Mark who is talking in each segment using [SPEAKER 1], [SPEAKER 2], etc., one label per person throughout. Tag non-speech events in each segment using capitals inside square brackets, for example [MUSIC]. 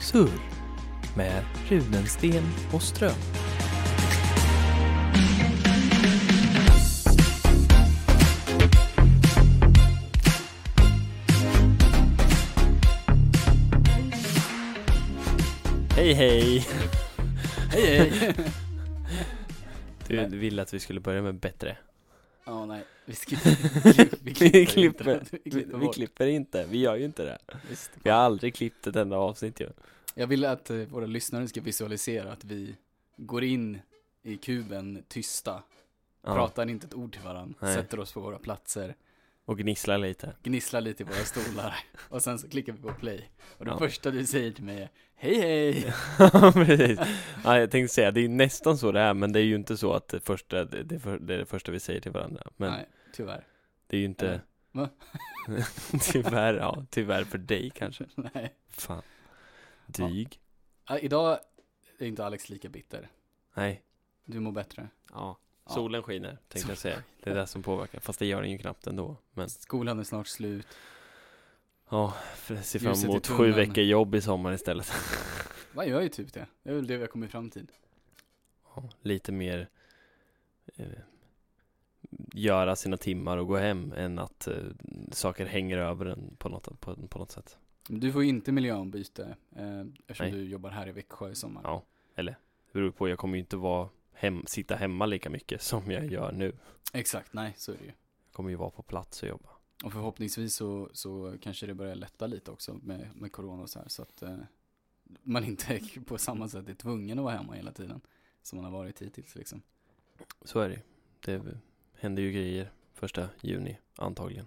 [SPEAKER 1] Surr med Rudensten och Ström. Hej hej!
[SPEAKER 2] Hej hej!
[SPEAKER 1] Du ville att vi skulle börja med bättre.
[SPEAKER 2] Ja, nej. Vi, skri- vi
[SPEAKER 1] [LAUGHS] Vi
[SPEAKER 2] klipper
[SPEAKER 1] klipper,
[SPEAKER 2] inte. Vi
[SPEAKER 1] vi,
[SPEAKER 2] klipper
[SPEAKER 1] vi
[SPEAKER 2] bort.
[SPEAKER 1] klipper inte, vi gör ju inte det.
[SPEAKER 2] Visst.
[SPEAKER 1] Vi har aldrig klippt ett enda avsnitt ju.
[SPEAKER 2] Jag vill att eh, våra lyssnare ska visualisera att vi går in i kuben tysta,
[SPEAKER 1] Ja,
[SPEAKER 2] pratar inte ett ord till varandra,
[SPEAKER 1] Nej.
[SPEAKER 2] sätter oss på våra platser,
[SPEAKER 1] och gnisslar lite.
[SPEAKER 2] gnisslar lite
[SPEAKER 1] [LAUGHS]
[SPEAKER 2] i våra stolar och sen så klickar vi på play. Och det
[SPEAKER 1] Ja.
[SPEAKER 2] första du säger till mig är hej hej!
[SPEAKER 1] [LAUGHS] Ja, precis. Ja, jag tänkte säga, det är ju nästan så det är, men det är ju inte så att det första, det, det, för, det, är det första vi säger till varandra. Men
[SPEAKER 2] Nej, tyvärr.
[SPEAKER 1] det är ju inte...
[SPEAKER 2] Eller? Va?
[SPEAKER 1] [LAUGHS] tyvärr, ja. Tyvärr för dig kanske.
[SPEAKER 2] [LAUGHS] nej.
[SPEAKER 1] Fan. Dyg.
[SPEAKER 2] Ja, idag är inte Alex lika bitter.
[SPEAKER 1] Nej.
[SPEAKER 2] Du mår bättre.
[SPEAKER 1] Ja.
[SPEAKER 2] Ja.
[SPEAKER 1] Solen skiner, tänkte jag säga. Det är det som påverkar. Fast det gör den ju knappt ändå. Men
[SPEAKER 2] Skolan är snart slut.
[SPEAKER 1] ja, för jag ser fram
[SPEAKER 2] Ljuset i
[SPEAKER 1] emot sju
[SPEAKER 2] tunneln.
[SPEAKER 1] veckor jobb i sommar istället.
[SPEAKER 2] Man gör ju typ det. Det är väl det vi har kommit fram till.
[SPEAKER 1] Ja, lite mer eh, göra sina timmar och gå hem än att eh, saker hänger över en på något, på, på något sätt.
[SPEAKER 2] Du får ju inte miljöombyte eh, eftersom
[SPEAKER 1] Nej.
[SPEAKER 2] du jobbar här i Växjö i sommar.
[SPEAKER 1] Ja. Det beror på, jag kommer ju inte vara hem, sitta hemma lika mycket [LAUGHS] som jag gör nu.
[SPEAKER 2] Exakt, nej så är det ju.
[SPEAKER 1] Jag kommer ju vara på plats och jobba.
[SPEAKER 2] Och förhoppningsvis så, så kanske det börjar lätta lite också med, med corona och så här så att eh, man inte [LAUGHS] på samma sätt är tvungen att vara hemma hela tiden som man har varit hittills liksom.
[SPEAKER 1] Så är det ju. Det händer ju grejer första juni antagligen.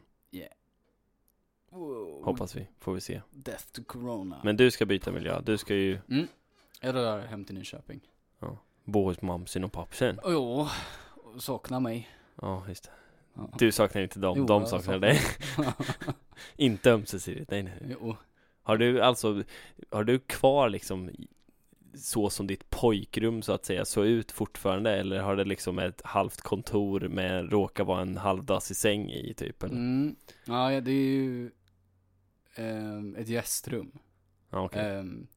[SPEAKER 1] Hoppas vi, får vi se.
[SPEAKER 2] Death to corona.
[SPEAKER 1] Men du ska byta miljö, du ska ju
[SPEAKER 2] Mm. Jag drar hem till Nyköping.
[SPEAKER 1] bo hos mamsen och pappsen.
[SPEAKER 2] Och ja, sakna mig.
[SPEAKER 1] Ja, just det.
[SPEAKER 2] Ja.
[SPEAKER 1] Du saknar ju inte dem,
[SPEAKER 2] Jo,
[SPEAKER 1] de
[SPEAKER 2] jag
[SPEAKER 1] saknar
[SPEAKER 2] saknar
[SPEAKER 1] dig. [LAUGHS] inte ömsesidigt, nej nej.
[SPEAKER 2] [LAUGHS] jo,
[SPEAKER 1] Har du alltså, har du kvar liksom så som ditt pojkrum så att säga såg ut fortfarande eller har det liksom ett halvt kontor med råkar vara en halvdassig säng i typ? Eller?
[SPEAKER 2] mm. ja ja, det är ju ehm, ett gästrum.
[SPEAKER 1] Ja, okej.
[SPEAKER 2] Ehm,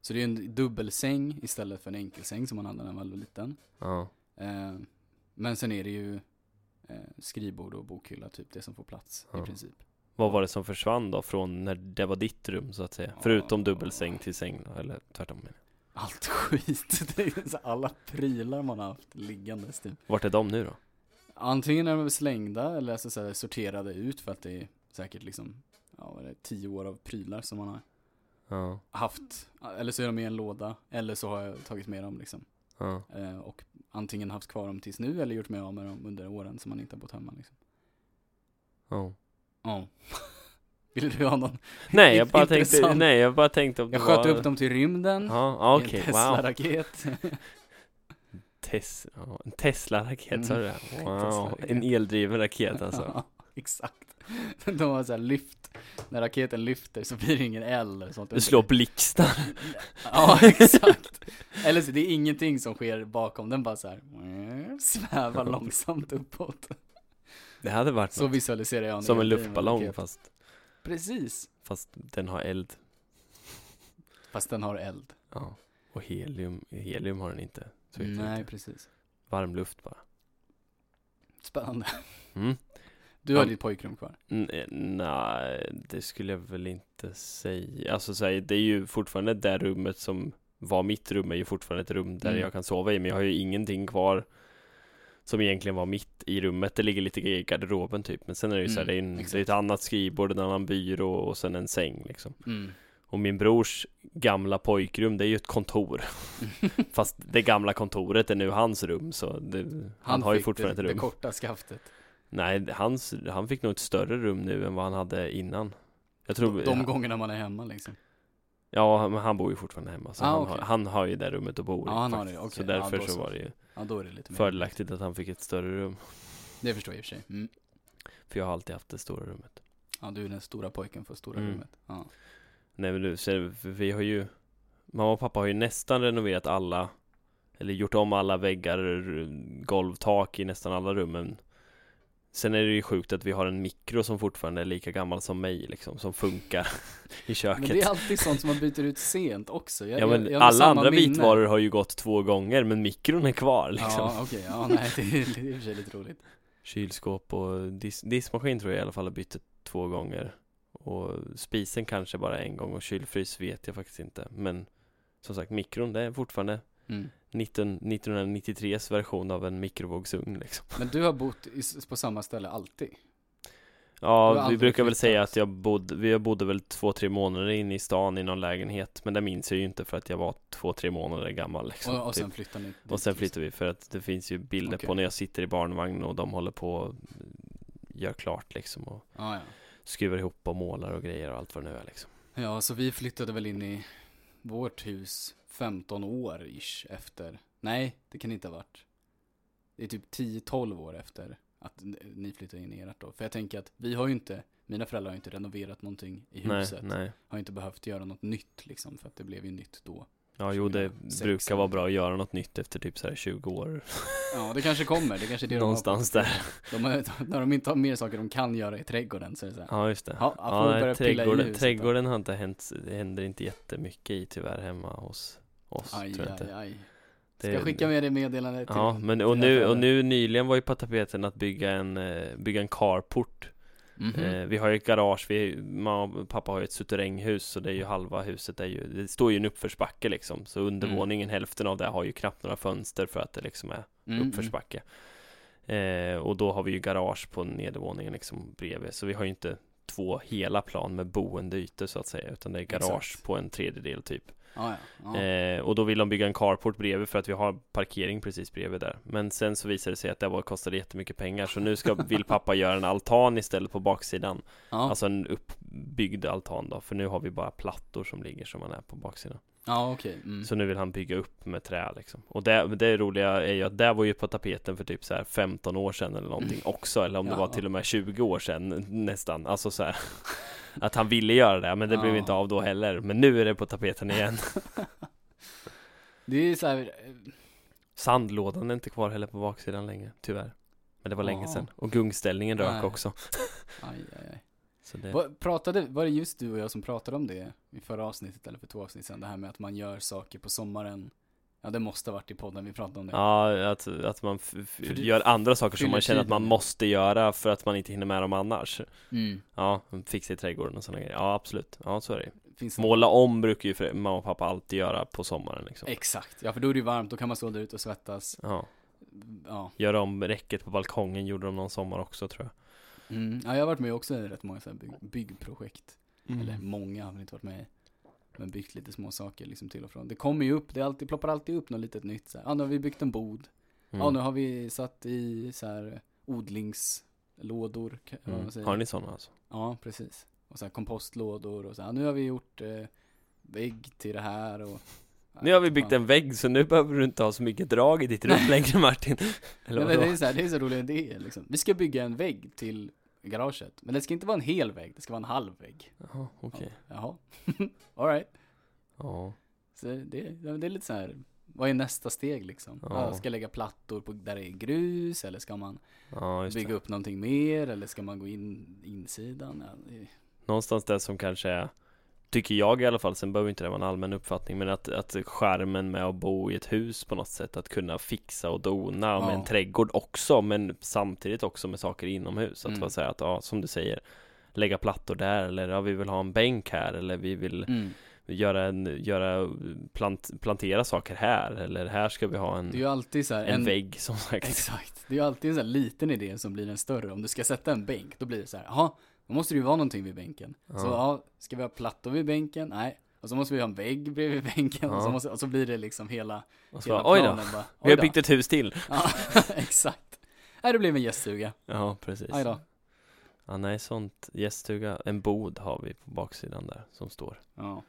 [SPEAKER 2] så det är en dubbelsäng istället för en enkelsäng som man hade när man var liten.
[SPEAKER 1] Ja,
[SPEAKER 2] Ehm, men sen är det ju eh, skrivbord och bokhylla typ, det som får plats
[SPEAKER 1] Ja.
[SPEAKER 2] i princip. [LAUGHS]
[SPEAKER 1] Vad var det som försvann då från när det var ditt rum så att säga?
[SPEAKER 2] Ja.
[SPEAKER 1] Förutom dubbelsäng till säng då, eller tvärtom menar jag.
[SPEAKER 2] Allt skit, det är så alla prylar man har haft liggandes typ.
[SPEAKER 1] Vart är de nu då?
[SPEAKER 2] Antingen är de slängda eller så, så här, sorterade ut för att det är säkert liksom, ja vad är det, tio år av prylar som man har
[SPEAKER 1] Ja,
[SPEAKER 2] haft. Eller så är de i en låda, eller så har jag tagit med dem liksom.
[SPEAKER 1] ja,
[SPEAKER 2] Eh, och antingen haft kvar dem tills nu eller gjort mig av med dem under åren som man inte har bott hemma liksom. [LAUGHS]
[SPEAKER 1] ja.
[SPEAKER 2] Ja. Vill du ha någon?
[SPEAKER 1] Nej jag bara
[SPEAKER 2] Intressant.
[SPEAKER 1] tänkte, nej jag bara tänkte om
[SPEAKER 2] Jag
[SPEAKER 1] det
[SPEAKER 2] sköt
[SPEAKER 1] var...
[SPEAKER 2] upp dem till rymden.
[SPEAKER 1] Ja, ja,
[SPEAKER 2] i
[SPEAKER 1] okej,
[SPEAKER 2] en
[SPEAKER 1] wow.
[SPEAKER 2] Tesla-raket.
[SPEAKER 1] Tes, ja, en Tesla-raket, sa du det?
[SPEAKER 2] Mm.
[SPEAKER 1] Wow,
[SPEAKER 2] Tesla-raket.
[SPEAKER 1] en eldriven raket alltså.
[SPEAKER 2] [LAUGHS] Ja, exakt. De har så här lyft. När raketen lyfter så blir det ingen eld eller sånt.
[SPEAKER 1] Du slår blixtar.
[SPEAKER 2] Ja, exakt. Eller så det är ingenting som sker bakom. Den bara så här svävar långsamt uppåt.
[SPEAKER 1] [LAUGHS] Det hade varit
[SPEAKER 2] Så
[SPEAKER 1] så
[SPEAKER 2] visualiserar jag
[SPEAKER 1] som en
[SPEAKER 2] eldriven
[SPEAKER 1] luftballong
[SPEAKER 2] raket.
[SPEAKER 1] fast,
[SPEAKER 2] Precis.
[SPEAKER 1] fast den har eld.
[SPEAKER 2] Fast den har eld.
[SPEAKER 1] Ja. Och helium, helium har den inte. Så vet jag
[SPEAKER 2] Nej,
[SPEAKER 1] inte.
[SPEAKER 2] precis.
[SPEAKER 1] Varm luft bara.
[SPEAKER 2] Spännande.
[SPEAKER 1] Mm.
[SPEAKER 2] Du har
[SPEAKER 1] Ja.
[SPEAKER 2] ditt pojkrum kvar.
[SPEAKER 1] N- eh, Nej, det skulle jag väl inte säga. Alltså så här, det är ju fortfarande det rummet som var mitt rum är ju fortfarande ett rum där
[SPEAKER 2] Mm.
[SPEAKER 1] jag kan sova i, men jag har ju ingenting kvar som egentligen var mitt i rummet. Det ligger lite grejer i garderoben typ, men sen är det ju så här,
[SPEAKER 2] Mm,
[SPEAKER 1] det är, en, det är
[SPEAKER 2] exakt.
[SPEAKER 1] ett annat skrivbord, en annan byrå och sen en säng liksom.
[SPEAKER 2] Mm.
[SPEAKER 1] Och min brors gamla pojkrum, det är ju ett
[SPEAKER 2] [LAUGHS]
[SPEAKER 1] kontor. Fast det gamla kontoret är nu hans rum, så det, han, har ju
[SPEAKER 2] fick
[SPEAKER 1] fortfarande
[SPEAKER 2] det,
[SPEAKER 1] ett rum.
[SPEAKER 2] det korta skaftet.
[SPEAKER 1] Nej, hans, han fick nog ett större rum nu än vad han hade innan. Jag tror,
[SPEAKER 2] De gångerna man är hemma liksom.
[SPEAKER 1] ja, men han bor ju fortfarande hemma, så
[SPEAKER 2] Ah,
[SPEAKER 1] han,
[SPEAKER 2] okej.
[SPEAKER 1] har, han har ju det rummet och bor i
[SPEAKER 2] Ja, han har
[SPEAKER 1] faktiskt.
[SPEAKER 2] det, okej.
[SPEAKER 1] Så
[SPEAKER 2] Ja,
[SPEAKER 1] därför
[SPEAKER 2] då
[SPEAKER 1] så
[SPEAKER 2] så.
[SPEAKER 1] var det ju
[SPEAKER 2] Ja, då är det lite mer.
[SPEAKER 1] fördelaktigt att han fick ett större rum.
[SPEAKER 2] Det förstår jag i och för sig. Mm.
[SPEAKER 1] För jag har alltid haft det stora rummet.
[SPEAKER 2] Ja, du är den stora pojken för stora
[SPEAKER 1] Mm.
[SPEAKER 2] rummet. Ja.
[SPEAKER 1] Nej men du, så för vi har ju Mamma och pappa har ju nästan renoverat alla Eller gjort om alla väggar, r- golv, tak i nästan alla rummen Sen är det ju sjukt att vi har en mikro som fortfarande är lika gammal som mig liksom, som funkar [LAUGHS] i
[SPEAKER 2] Men
[SPEAKER 1] köket.
[SPEAKER 2] det är alltid sånt som man byter ut sent också. Jag,
[SPEAKER 1] Ja
[SPEAKER 2] jag,
[SPEAKER 1] men
[SPEAKER 2] jag har
[SPEAKER 1] alla
[SPEAKER 2] samma
[SPEAKER 1] andra
[SPEAKER 2] minne.
[SPEAKER 1] vitvaror har ju gått två gånger men mikron är kvar liksom
[SPEAKER 2] Ja, okej. Ja, nej, det är i och för sig lite roligt.
[SPEAKER 1] Kylskåp och dis diskmaskin tror jag i alla fall har bytt två gånger Och spisen kanske bara en gång och kylfrys vet jag faktiskt inte Men som sagt mikron det är fortfarande
[SPEAKER 2] Mm.
[SPEAKER 1] 19, 1993s version av en mikrovågsugn liksom
[SPEAKER 2] Men du har bott i, s- på samma ställe alltid? Du har
[SPEAKER 1] Ja vi
[SPEAKER 2] aldrig
[SPEAKER 1] brukar väl
[SPEAKER 2] flyttat.
[SPEAKER 1] säga att jag bodde, vi- jag bodde väl två tre månader inne i stan i någon lägenhet Men det minns jag ju inte för att jag var två tre månader gammal liksom
[SPEAKER 2] och, och
[SPEAKER 1] typ.
[SPEAKER 2] sen flyttar ni? dit,
[SPEAKER 1] Och sen
[SPEAKER 2] liksom.
[SPEAKER 1] flyttar vi för att det finns ju bilder på
[SPEAKER 2] Okej.
[SPEAKER 1] när jag sitter i barnvagnen och de håller på och gör klart liksom och
[SPEAKER 2] Ja, ja.
[SPEAKER 1] skruvar ihop och målar och grejer och allt vad det nu är liksom.
[SPEAKER 2] Ja, så vi flyttade väl in i vårt hus 15 år ish efter. Nej, det kan det inte ha varit. Det är typ 10-12 år efter att n- ni flyttade in i ert då. För jag tänker att vi har ju inte, mina föräldrar har ju inte renoverat någonting i huset.
[SPEAKER 1] Nej, nej.
[SPEAKER 2] Har inte behövt göra något nytt liksom, för att det blev ju nytt då.
[SPEAKER 1] Ja, jo det
[SPEAKER 2] 2006
[SPEAKER 1] brukar vara bra att göra något nytt efter typ så här 20 år.
[SPEAKER 2] Ja, det kanske kommer. Det kanske är det
[SPEAKER 1] Någonstans där.
[SPEAKER 2] de har. De har när de inte har mer saker de kan göra i trädgården så är det så här.
[SPEAKER 1] Ja, just det.
[SPEAKER 2] Ja, jag får
[SPEAKER 1] nej,
[SPEAKER 2] börja pilla i
[SPEAKER 1] trädgården,
[SPEAKER 2] huset då.
[SPEAKER 1] trädgården har inte hänt, det händer inte jättemycket i tyvärr hemma hos oss.
[SPEAKER 2] Aj,
[SPEAKER 1] tror jag
[SPEAKER 2] aj,
[SPEAKER 1] inte.
[SPEAKER 2] aj.
[SPEAKER 1] Det-
[SPEAKER 2] Ska jag skicka med det meddelandet till
[SPEAKER 1] Ja, men och
[SPEAKER 2] till era
[SPEAKER 1] nu, och
[SPEAKER 2] föräldrar?
[SPEAKER 1] nu nyligen var ju på tapeten att bygga en, eh, bygga en carport
[SPEAKER 2] Mhm.
[SPEAKER 1] Eh, vi har ju ett garage, vi, mamma och pappa har ju ett suteränghus så det är ju halva huset är ju, det står ju en uppförsbacke liksom Så undervåningen, hälften av det har ju knappt några fönster för att det liksom är
[SPEAKER 2] Mm, mm.
[SPEAKER 1] uppförsbacke eh, Och då har vi ju garage på nedervåningen liksom bredvid Så vi har ju inte två hela plan med boendeytor så att säga Utan det är garage
[SPEAKER 2] Exakt.
[SPEAKER 1] på en tredjedel typ
[SPEAKER 2] Ah, Ja, ja. ja.
[SPEAKER 1] Eh, och då vill de bygga en carport bredvid för att vi har parkering precis bredvid där. Men sen så visade det sig att det var, kostade jättemycket pengar så nu
[SPEAKER 2] [LAUGHS]
[SPEAKER 1] ska, vill pappa göra en altan istället på baksidan.
[SPEAKER 2] ja.
[SPEAKER 1] Alltså en uppbyggd altan då, för nu har vi bara plattor som ligger som man är på baksidan.
[SPEAKER 2] Ja okej. Mm.
[SPEAKER 1] Så nu vill han bygga upp med trä liksom. Och det, det roliga är ju att det var ju på tapeten för typ så här 15 år sedan eller någonting också, eller om det
[SPEAKER 2] Mm. Ja.
[SPEAKER 1] var till och med 20 år sedan nästan. Alltså så här. [LAUGHS] Att han ville göra det, men det blev
[SPEAKER 2] Ja.
[SPEAKER 1] inte av då heller. Men nu är det på tapeten igen. [LAUGHS]
[SPEAKER 2] Det är så här, eh,
[SPEAKER 1] Sandlådan är inte kvar heller på baksidan längre, tyvärr. Men det var länge
[SPEAKER 2] Jaha.
[SPEAKER 1] sedan. Och gungställningen rök
[SPEAKER 2] Nej.
[SPEAKER 1] också.
[SPEAKER 2] aj, aj, aj.
[SPEAKER 1] Så det...
[SPEAKER 2] Vad- Pratade, var det just du och jag som pratade om det i förra avsnittet eller för två avsnitt sedan? Det här med att man gör saker på sommaren. Ja det måste ha varit i podden vi pratade om det.
[SPEAKER 1] Ja, att, att man f- f-
[SPEAKER 2] För det
[SPEAKER 1] gör andra saker som
[SPEAKER 2] fyller
[SPEAKER 1] man känner att man
[SPEAKER 2] tiden.
[SPEAKER 1] måste göra för att man inte hinner med dem annars.
[SPEAKER 2] Mm.
[SPEAKER 1] Ja, fixa i trädgården och sådana grejer. Ja, absolut. Ja, så är det ju.
[SPEAKER 2] Finns det
[SPEAKER 1] Måla om brukar ju för- mamma och pappa alltid göra på sommaren liksom.
[SPEAKER 2] Exakt, ja för då är det ju varmt, då kan man stå där ute och svettas.
[SPEAKER 1] Ja,
[SPEAKER 2] Ja.
[SPEAKER 1] göra om räcket på balkongen gjorde de någon sommar också tror jag.
[SPEAKER 2] Mm. ja, jag har varit med också i rätt många så här bygg, byggprojekt. Mm.
[SPEAKER 1] Mm.
[SPEAKER 2] Eller många har väl inte varit med i. Men byggt lite små saker liksom till och från. Det kommer ju upp, det är alltid, ploppar alltid upp något litet nytt. Så här. Ja nu har vi byggt en bod.
[SPEAKER 1] Mm.
[SPEAKER 2] Ja, nu har vi satt i så här eh, odlingslådor. ka- Vad man
[SPEAKER 1] Mm.
[SPEAKER 2] säger.
[SPEAKER 1] Har ni sådana alltså?
[SPEAKER 2] Ja, precis. Och så här kompostlådor och så här, nu har vi gjort eh, vägg till det här och...
[SPEAKER 1] [LAUGHS] Nu har vi byggt en vägg så nu behöver du inte ha så mycket drag i ditt rum längre Martin. Eller [LAUGHS]
[SPEAKER 2] Nej,
[SPEAKER 1] vadå?
[SPEAKER 2] men det är så här, det är så roliga idéer liksom. Vi ska bygga en vägg till garaget. Men det ska inte vara en hel vägg, det ska vara en halv vägg.
[SPEAKER 1] Jaha, okej.
[SPEAKER 2] Jaha. [LAUGHS] Alright.
[SPEAKER 1] Ja.
[SPEAKER 2] Så det, ja, men det är lite så här, vad är nästa steg liksom?
[SPEAKER 1] Ja.
[SPEAKER 2] Ja. Ska jag lägga plattor på, där det är grus eller ska man
[SPEAKER 1] Ja, just
[SPEAKER 2] bygga
[SPEAKER 1] det.
[SPEAKER 2] upp någonting mer eller ska man gå in insidan? Ja, det-
[SPEAKER 1] Någonstans där som kanske är, tycker jag i alla fall, sen behöver inte det vara en allmän uppfattning, men att, att skärmen med att bo i ett hus på något sätt, att kunna fixa och dona med
[SPEAKER 2] Ja.
[SPEAKER 1] en trädgård också, men samtidigt också med saker inomhus. Att
[SPEAKER 2] Mm.
[SPEAKER 1] vara så här att, ja, som du säger, lägga plattor där eller ja, vi vill ha en bänk här eller vi vill
[SPEAKER 2] Mm.
[SPEAKER 1] göra en, göra, plant, plantera saker här eller här ska vi ha en,
[SPEAKER 2] Det är ju alltid så här
[SPEAKER 1] en, vägg som sagt.
[SPEAKER 2] Exakt. Det är ju alltid en sån här liten idé som blir en större. Om du ska sätta en bänk, då blir det så här, jaha, då måste det ju vara någonting vid bänken. Så
[SPEAKER 1] Ja.
[SPEAKER 2] ja, ska vi ha plattor vid bänken? Nej. Och så måste vi ha en vägg bredvid bänken. Och,
[SPEAKER 1] Ja.
[SPEAKER 2] så måste, och så blir det liksom hela,
[SPEAKER 1] Och så
[SPEAKER 2] hela
[SPEAKER 1] bara, oj då,
[SPEAKER 2] planen bara,
[SPEAKER 1] vi har
[SPEAKER 2] "Oj då."
[SPEAKER 1] byggt ett hus till.
[SPEAKER 2] [LAUGHS] Ja, exakt. Nej, det blev en gäststuga.
[SPEAKER 1] Ja, precis.
[SPEAKER 2] Aj då.
[SPEAKER 1] Ja, nej, sånt. Gäststuga. En bod har vi på baksidan där som står.
[SPEAKER 2] Ja.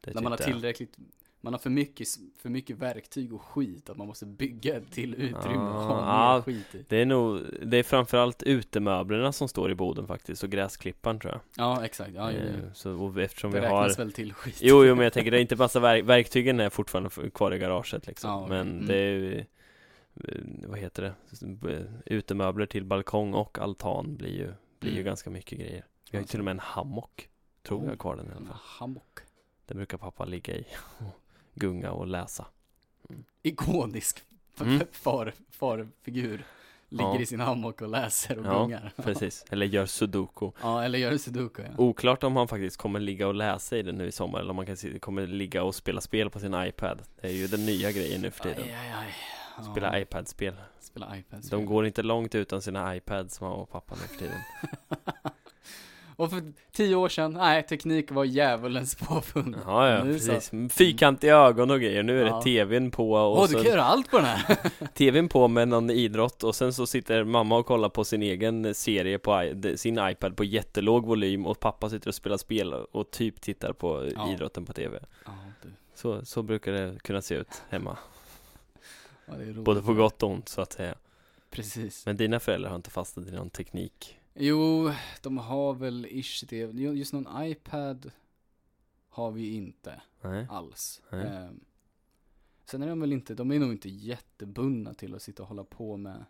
[SPEAKER 1] Det är
[SPEAKER 2] När man har
[SPEAKER 1] typ det.
[SPEAKER 2] tillräckligt, man har för mycket, för mycket verktyg och skit. Att man måste bygga ett till utrymme och ha
[SPEAKER 1] Ah,
[SPEAKER 2] mer
[SPEAKER 1] ah.
[SPEAKER 2] skit i.
[SPEAKER 1] Det är nog, det är framförallt utemöblerna som står i boden faktiskt och gräsklipparen tror jag.
[SPEAKER 2] Ja, exakt. Ja, jo,
[SPEAKER 1] Eh,
[SPEAKER 2] jo.
[SPEAKER 1] Så, och eftersom
[SPEAKER 2] Det
[SPEAKER 1] vi har
[SPEAKER 2] räknas väl till skit.
[SPEAKER 1] Jo, jo, men jag tänker det är inte massa verk, verktygen är fortfarande f- kvar i garaget liksom.
[SPEAKER 2] Ja, okej.
[SPEAKER 1] Men
[SPEAKER 2] Mm.
[SPEAKER 1] det är ju eh, vad heter det, B- utemöbler till balkong och altan blir ju, blir
[SPEAKER 2] [CLEARS THROAT]
[SPEAKER 1] ju
[SPEAKER 2] Mm.
[SPEAKER 1] ganska mycket grejer. Vi har ju
[SPEAKER 2] Alltså.
[SPEAKER 1] till och med en hammock, tror jag, kvar den i alla
[SPEAKER 2] En
[SPEAKER 1] fall.
[SPEAKER 2] hammock.
[SPEAKER 1] Den brukar pappa ligga i och gunga och
[SPEAKER 2] [LAUGHS]
[SPEAKER 1] läsa.
[SPEAKER 2] Ikonisk [LAUGHS]
[SPEAKER 1] Mm.
[SPEAKER 2] far, farfigur. Ligger
[SPEAKER 1] Ja.
[SPEAKER 2] i sin hammock och läser och
[SPEAKER 1] Ja,
[SPEAKER 2] gungar.
[SPEAKER 1] Precis, eller gör sudoku.
[SPEAKER 2] Ja, eller gör en sudoku. Ja.
[SPEAKER 1] Oklart om han faktiskt kommer ligga och läsa i den nu i sommar eller om han kan si- kommer ligga och spela spel på sin iPad. Det är ju den nya grejen nu för tiden.
[SPEAKER 2] Aj, aj, aj. Ja,
[SPEAKER 1] Spela iPad-spel.
[SPEAKER 2] Spela iPad.
[SPEAKER 1] De går inte långt utan sina iPads mamma och pappa nu för
[SPEAKER 2] [LAUGHS]
[SPEAKER 1] tiden.
[SPEAKER 2] och för tio år sedan, nej, teknik var djävulens påfund.
[SPEAKER 1] Ja, ja,
[SPEAKER 2] Nu
[SPEAKER 1] precis. Fyrkantiga ögon och grejer. Nu är
[SPEAKER 2] Ja.
[SPEAKER 1] det tvn på och
[SPEAKER 2] Åh, du
[SPEAKER 1] sen
[SPEAKER 2] kan göra allt på den här! [LAUGHS]
[SPEAKER 1] tvn på med någon idrott och sen så sitter mamma och kollar på sin egen serie på i- de- sin iPad på jättelåg volym och pappa sitter och spelar spel och typ tittar på
[SPEAKER 2] Ja.
[SPEAKER 1] idrotten på tv.
[SPEAKER 2] ja, du.
[SPEAKER 1] Så, så brukar det kunna se ut hemma.
[SPEAKER 2] Ja, det är roligt.
[SPEAKER 1] Både på gott och ont så att säga.
[SPEAKER 2] Precis.
[SPEAKER 1] Men dina föräldrar har inte fastnat i någon teknik.
[SPEAKER 2] Jo, de har väl ish det. Jo, Just någon iPad har vi inte
[SPEAKER 1] Nej.
[SPEAKER 2] alls.
[SPEAKER 1] Nej.
[SPEAKER 2] Ehm, sen är de väl inte, de är nog inte jättebundna till att sitta och hålla på med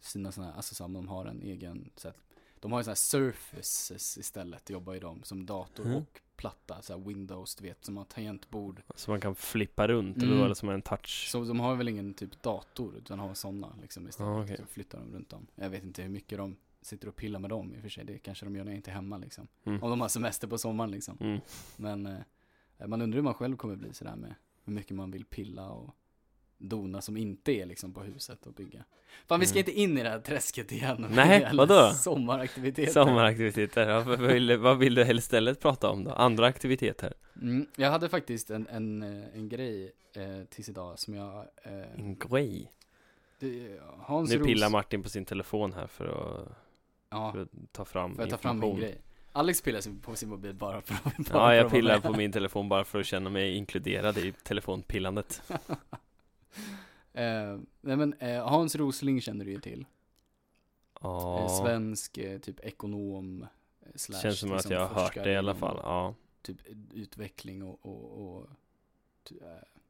[SPEAKER 2] sina sådana här, alltså så här, de har en egen, så här, de har ju sådana här surfaces istället, jobbar ju de som dator
[SPEAKER 1] Mm.
[SPEAKER 2] och platta, så här Windows, du vet, som har tangentbord.
[SPEAKER 1] Så man kan flippa runt eller
[SPEAKER 2] Mm.
[SPEAKER 1] vad det som är en touch.
[SPEAKER 2] Så de har väl ingen typ dator, utan har sådana liksom istället.
[SPEAKER 1] Ja, Ah, okej.
[SPEAKER 2] Så flyttar de runt dem. Jag vet inte hur mycket de sitter och pillar med dem i och för sig. Det kanske de gör när jag inte är hemma liksom.
[SPEAKER 1] Mm.
[SPEAKER 2] Om de har semester på sommaren liksom.
[SPEAKER 1] Mm.
[SPEAKER 2] Men eh, man undrar hur man själv kommer bli sådär med hur mycket man vill pilla och dona som inte är liksom på huset och bygga. Fan vi ska
[SPEAKER 1] Mm.
[SPEAKER 2] inte in i det här träsket igen.
[SPEAKER 1] [LAUGHS] Nej,
[SPEAKER 2] [LAUGHS] Jävla
[SPEAKER 1] vadå?
[SPEAKER 2] Sommaraktiviteter.
[SPEAKER 1] Sommaraktiviteter. Ja, vad, vill, vad vill du helst istället prata om då? Andra aktiviteter?
[SPEAKER 2] Mm, jag hade faktiskt en, en, eh, en grej eh, tills idag som jag... Eh,
[SPEAKER 1] En grej.
[SPEAKER 2] det, Hans
[SPEAKER 1] Nu
[SPEAKER 2] Ros-
[SPEAKER 1] pillar Martin på sin telefon här för att,
[SPEAKER 2] Ja,
[SPEAKER 1] för att ta fram
[SPEAKER 2] Får jag ta fram min grej? Alex pillar sig på sin mobil bara för att [LAUGHS] bara
[SPEAKER 1] Ja,
[SPEAKER 2] för
[SPEAKER 1] jag
[SPEAKER 2] att vara
[SPEAKER 1] pillar
[SPEAKER 2] med.
[SPEAKER 1] på min telefon bara för att känna mig inkluderad i telefonpillandet.
[SPEAKER 2] Eh, nej men eh, Hans Rosling känner du ju till. Eh,
[SPEAKER 1] Ja,
[SPEAKER 2] svensk eh, typ ekonom. eh, Slash,
[SPEAKER 1] känns som att
[SPEAKER 2] liksom,
[SPEAKER 1] jag har hört
[SPEAKER 2] forskare
[SPEAKER 1] det i alla
[SPEAKER 2] inom
[SPEAKER 1] fall. Ja,
[SPEAKER 2] Typ utveckling och, och, och ty, eh,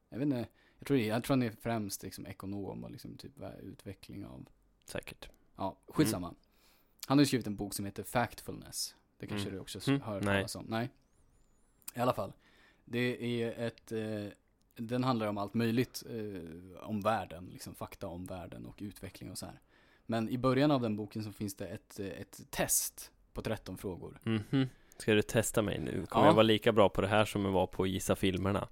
[SPEAKER 2] jag vet inte. Jag tror, jag tror han är främst liksom ekonom och liksom typ eh, utveckling av,
[SPEAKER 1] säkert.
[SPEAKER 2] ja skitsamma.
[SPEAKER 1] Mm.
[SPEAKER 2] Han har ju skrivit en bok som heter Factfulness. Det kanske
[SPEAKER 1] Mm.
[SPEAKER 2] du också s-
[SPEAKER 1] Mm.
[SPEAKER 2] hör
[SPEAKER 1] Nej.
[SPEAKER 2] talas om. Nej. I alla fall. Det är ett, eh, den handlar om allt möjligt eh, om världen, liksom fakta om världen och utveckling och så här. Men i början av den boken så finns det ett, eh, ett test på 13 frågor.
[SPEAKER 1] Mhm. Ska du testa mig nu? Kommer
[SPEAKER 2] Ja.
[SPEAKER 1] jag vara lika bra på det här som jag var på Gissa filmerna?